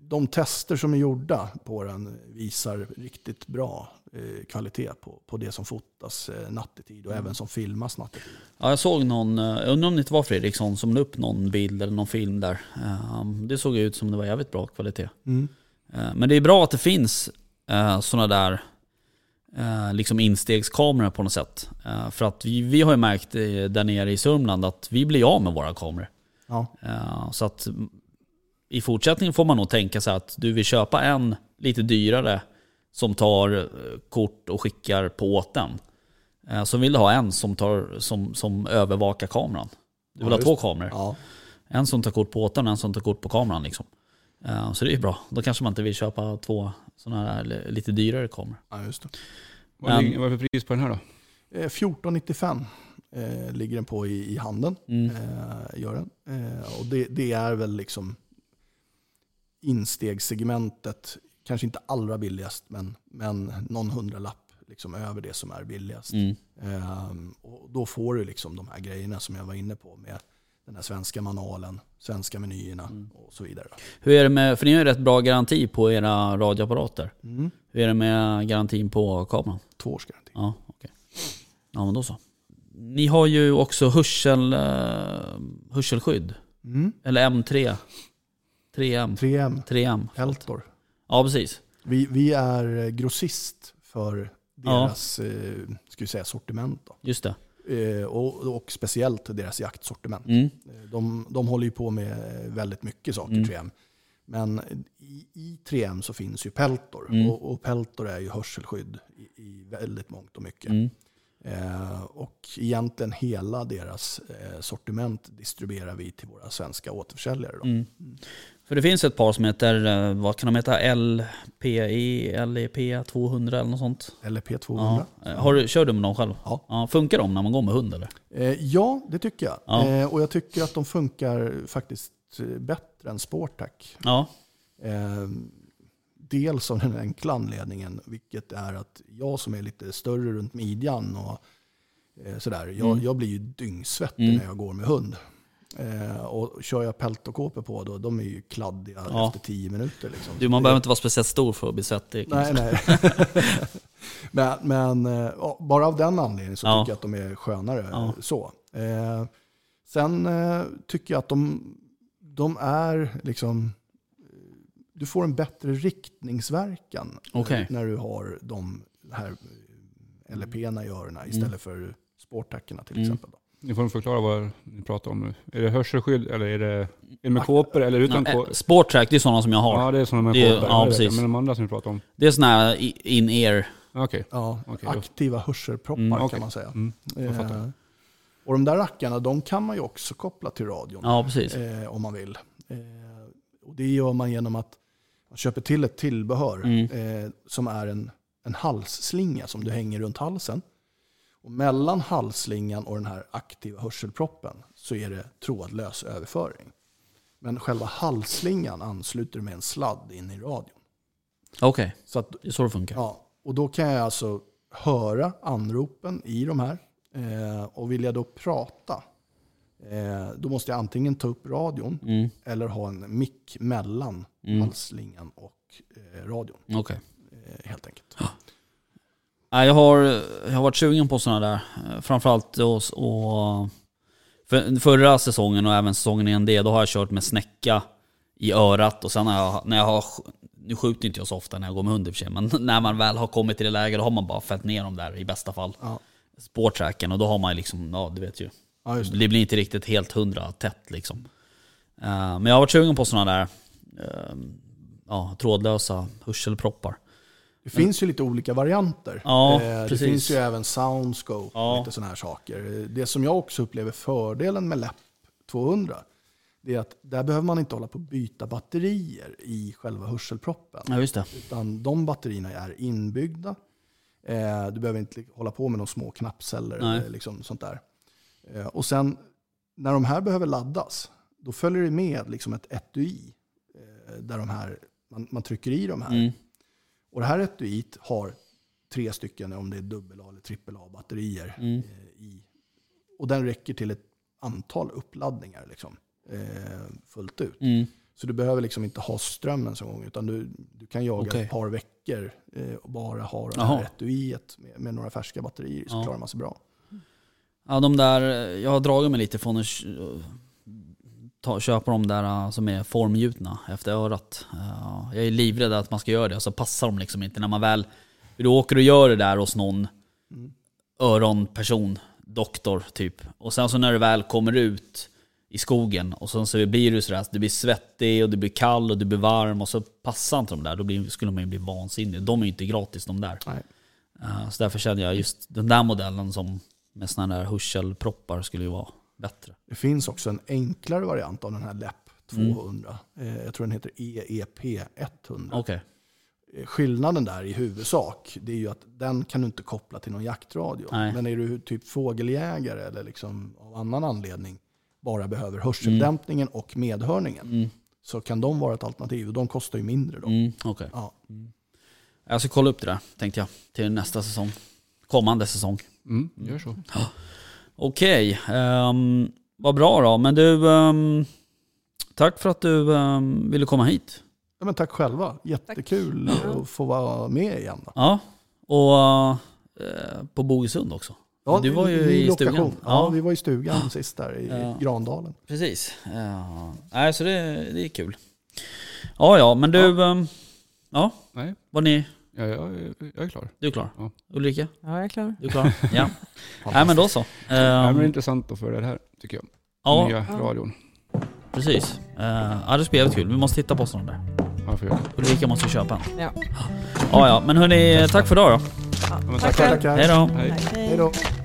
de tester som är gjorda på den visar riktigt bra eh, kvalitet på, på det som fotas eh, nattetid och Mm. även som filmas nattetid. ja, jag såg någon, eh, jag undrar om det inte var Fredriksson som la upp någon bild eller någon film där. Eh, det såg ut som det var jävligt bra kvalitet. Mm. Eh, Men det är bra att det finns eh, sådana där eh, liksom instegskameror på något sätt. Eh, för att vi, vi har ju märkt eh, där nere i Sörmland att vi blir av med våra kameror. Ja. Eh, så att mm, i fortsättningen får man nog tänka sig att du vill köpa en lite dyrare som tar eh, kort och skickar på åt den. Eh, så vill du ha en som, tar, som, som övervakar kameran. Du vill Ja, ha just två kameror. Ja. En som tar kort på åtan och en som tar kort på kameran. Liksom. Eh, Så det är ju bra. Då kanske man inte vill köpa två sådana här li- lite dyrare kameror. ja, just det. Vad ligger- vad är det för pris på den här då? Eh, 1495 eh, ligger den på i, i handen. Mm. eh, gör den. Eh, och det, det är väl liksom instegssegmentet, kanske inte allra billigast, men, men någon hundralapp liksom över det som är billigast. Mm. Ehm, och då får du liksom de här grejerna som jag var inne på med den här svenska manualen, svenska menyerna och så vidare. Hur är det med, för ni har ju rätt bra garanti på era radioapparater. Mm. Hur är det med garantin på kameran? Två års garanti. Ja, okej. Ja, men då så. Ni har ju också hörsel, eh, hörselskydd. Mm. Eller M3. 3M. 3M, 3M. Peltor. Ja, precis. Vi, vi är grossist för deras eh, ska vi säga, sortiment. Då. Just det. Eh, och, och speciellt deras jaktsortiment. Mm. Eh, De, de håller ju på med väldigt mycket saker, 3M. Men i, i 3M så finns ju Peltor. Mm. Och, och Peltor är ju hörselskydd i, i väldigt mångt och mycket. Mm. Eh, och egentligen hela deras eh, sortiment distribuerar vi till våra svenska återförsäljare. Då. Mm. För det finns ett par som heter, eh, vad kan de heta, LPE, LEP 200 E eller något sånt. Eller P200. Ja. Har du, kör du med dem själv? Ja. funkar de när man går med hund eller? Eh, ja, det tycker jag. Ja. Eh, och jag tycker att de funkar faktiskt eh, bättre än Sportac. Ja. Eh, dels av den enkla anledningen, vilket är att jag som är lite större runt midjan och eh, sådär, jag, Mm. jag blir ju dyngsvettig när jag går med hund. Eh, och kör jag peltokåpor på då, de är ju kladdiga Ja. efter tio minuter. Liksom. Du, man behöver inte vara speciellt stor för att bli svettig. Nej, nej. men men eh, ja, bara av den anledningen så Ja. tycker jag att de är skönare. Ja. Så. Eh, sen eh, tycker jag att de, de är liksom eh, du får en bättre riktningsverkan eh, Okej. när du har de här LP-erna i öronen istället Mm. för sporttackorna till Mm. exempel. Då. Ni får förklara vad ni pratar om nu. Är det hörselskydd eller är det, är det med kåpor eller utan Ja, eh, kåpor? Sporttrack, det är sådana som jag har. Ja, det är sådana med Det är- kåpor. ja, Jag vet precis. det, Men de andra som vi pratar om? Det är sådana här i- in-ear. Ja, Okej. Ja, Okej, då- aktiva hörselproppar Mm, kan okej. man säga. Mm, jag fattar. Eh, och de där rackarna, de kan man ju också koppla till radion. Ja, precis. eh, om man vill. Eh, och det gör man genom att man köper till ett tillbehör Mm. eh, som är en, en halsslinga som du hänger runt halsen. Och mellan halsslingan och den här aktiva hörselproppen så är det trådlös överföring. Men själva halsslingan ansluter med en sladd in i radion. Okej, Så att det är så det funkar. Ja, och då kan jag alltså höra anropen i de här. Eh, och vill jag då prata, eh, då måste jag antingen ta upp radion Mm, eller ha en mick mellan mm, halsslingan och eh, radion. Okej. Eh, helt enkelt. Nej, jag, har, jag har varit sugen på sådana där. Eh, Framförallt och, och för, förra säsongen och även säsongen innan det, då har jag kört med snäcka i örat och sen när jag, när jag har... Nu skjuter inte jag så ofta när jag går med hund i och för sig, men när man väl har kommit till det läget då har man bara fällt ner dem där i bästa fall. Ja. Spårtracken och då har man liksom, ja du vet ju. Ja, just det. Det blir inte riktigt helt hundra tätt liksom. Eh, men jag har varit sugen på sådana där eh, ja, trådlösa hörselproppar. det finns ju lite olika varianter. Eh, Ja, det precis. finns ju även soundscope Ja. och lite sådana här saker. Eh, Det som jag också upplever fördelen med LEP 200, det är att där behöver man inte hålla på och byta batterier i själva hörselproppen. Ja just det. Utan de batterierna är inbyggda. Eh, du behöver inte hålla på med de små knappceller Nej. eller liksom sånt där. Eh, och sen när de här behöver laddas, då följer det med liksom ett etui. Eh, där de här, man, man trycker i de här. Mm. Och det här etuiet har tre stycken, om det är dubbel A eller trippel A-batterier. Mm. Eh, i. och den räcker till ett antal uppladdningar liksom, eh, fullt ut. Mm. Så du behöver liksom inte ha strömmen så gång, utan du, du kan jaga Okej. ett par veckor eh, och bara ha det Jaha. här etuiet med, med några färska batterier så Ja. klarar man sig bra. Ja, de där, eh, jag har dragit mig lite från att kö- ta, köpa de där eh, som är formgjutna efter örat. Eh, Jag är livrädd att man ska göra det, så passar de liksom inte. När man väl, du åker och gör det där hos någon öronperson, doktor typ. Och sen så när du väl kommer ut i skogen och sen så blir du sådär, du blir svettig och du blir kall och du blir varm och så passar inte de där. Då blir, skulle man ju bli vansinnig. De är ju inte gratis de där. Nej. Eh, Så därför känner jag just den där modellen som med sådana där hörselproppar skulle ju vara bättre. Det finns också en enklare variant av den här LEP Mm. 200. Eh, jag tror den heter EEP 100. Okej. Eh, Skillnaden där i huvudsak, det är ju att den kan du inte koppla till någon jaktradio. Nej. Men är du typ fågeljägare eller liksom av annan anledning bara behöver hörseldämpningen och medhörningen Mm. så kan de vara ett alternativ. Och de kostar ju mindre då. Mm, okej. Ja. Jag ska kolla upp det där tänkte jag till nästa säsong. Kommande säsong. Mm, gör så. Okej, um, vad bra då. Men du, ehm, tack för att du ehm, ville komma hit. Ja, men tack själva. Jättekul Tack. att få vara med igen. Då. Ja, och eh, på Bogesund också. Ja, Du var ju ny i stugan. lokation. Ja, Ja. vi var i stugan sist där i Ja. Grandalen. Precis. Ja. Nej, så det, det är kul. Ja, ja, men du, ehm, ja, Nej, var ni, ja, jag, är- jag är klar. du är klar? Ja. Ulrika, Ja, jag är klar. du är klar? ja. Nej, men då så. Ehm, Nej, men det är intressant att följa det här, tycker jag. ja, Nya radion. precis. Uh, ja, det ska bli jävligt kul. Vi måste titta på sådana där. Ja, jag får göra det. Ulrika måste ju köpa en. Ja. Ja, ja, men hörni, tack för idag då. Ja, men tack. Tack själv. Tackar. Hej då. Hej. Hej då.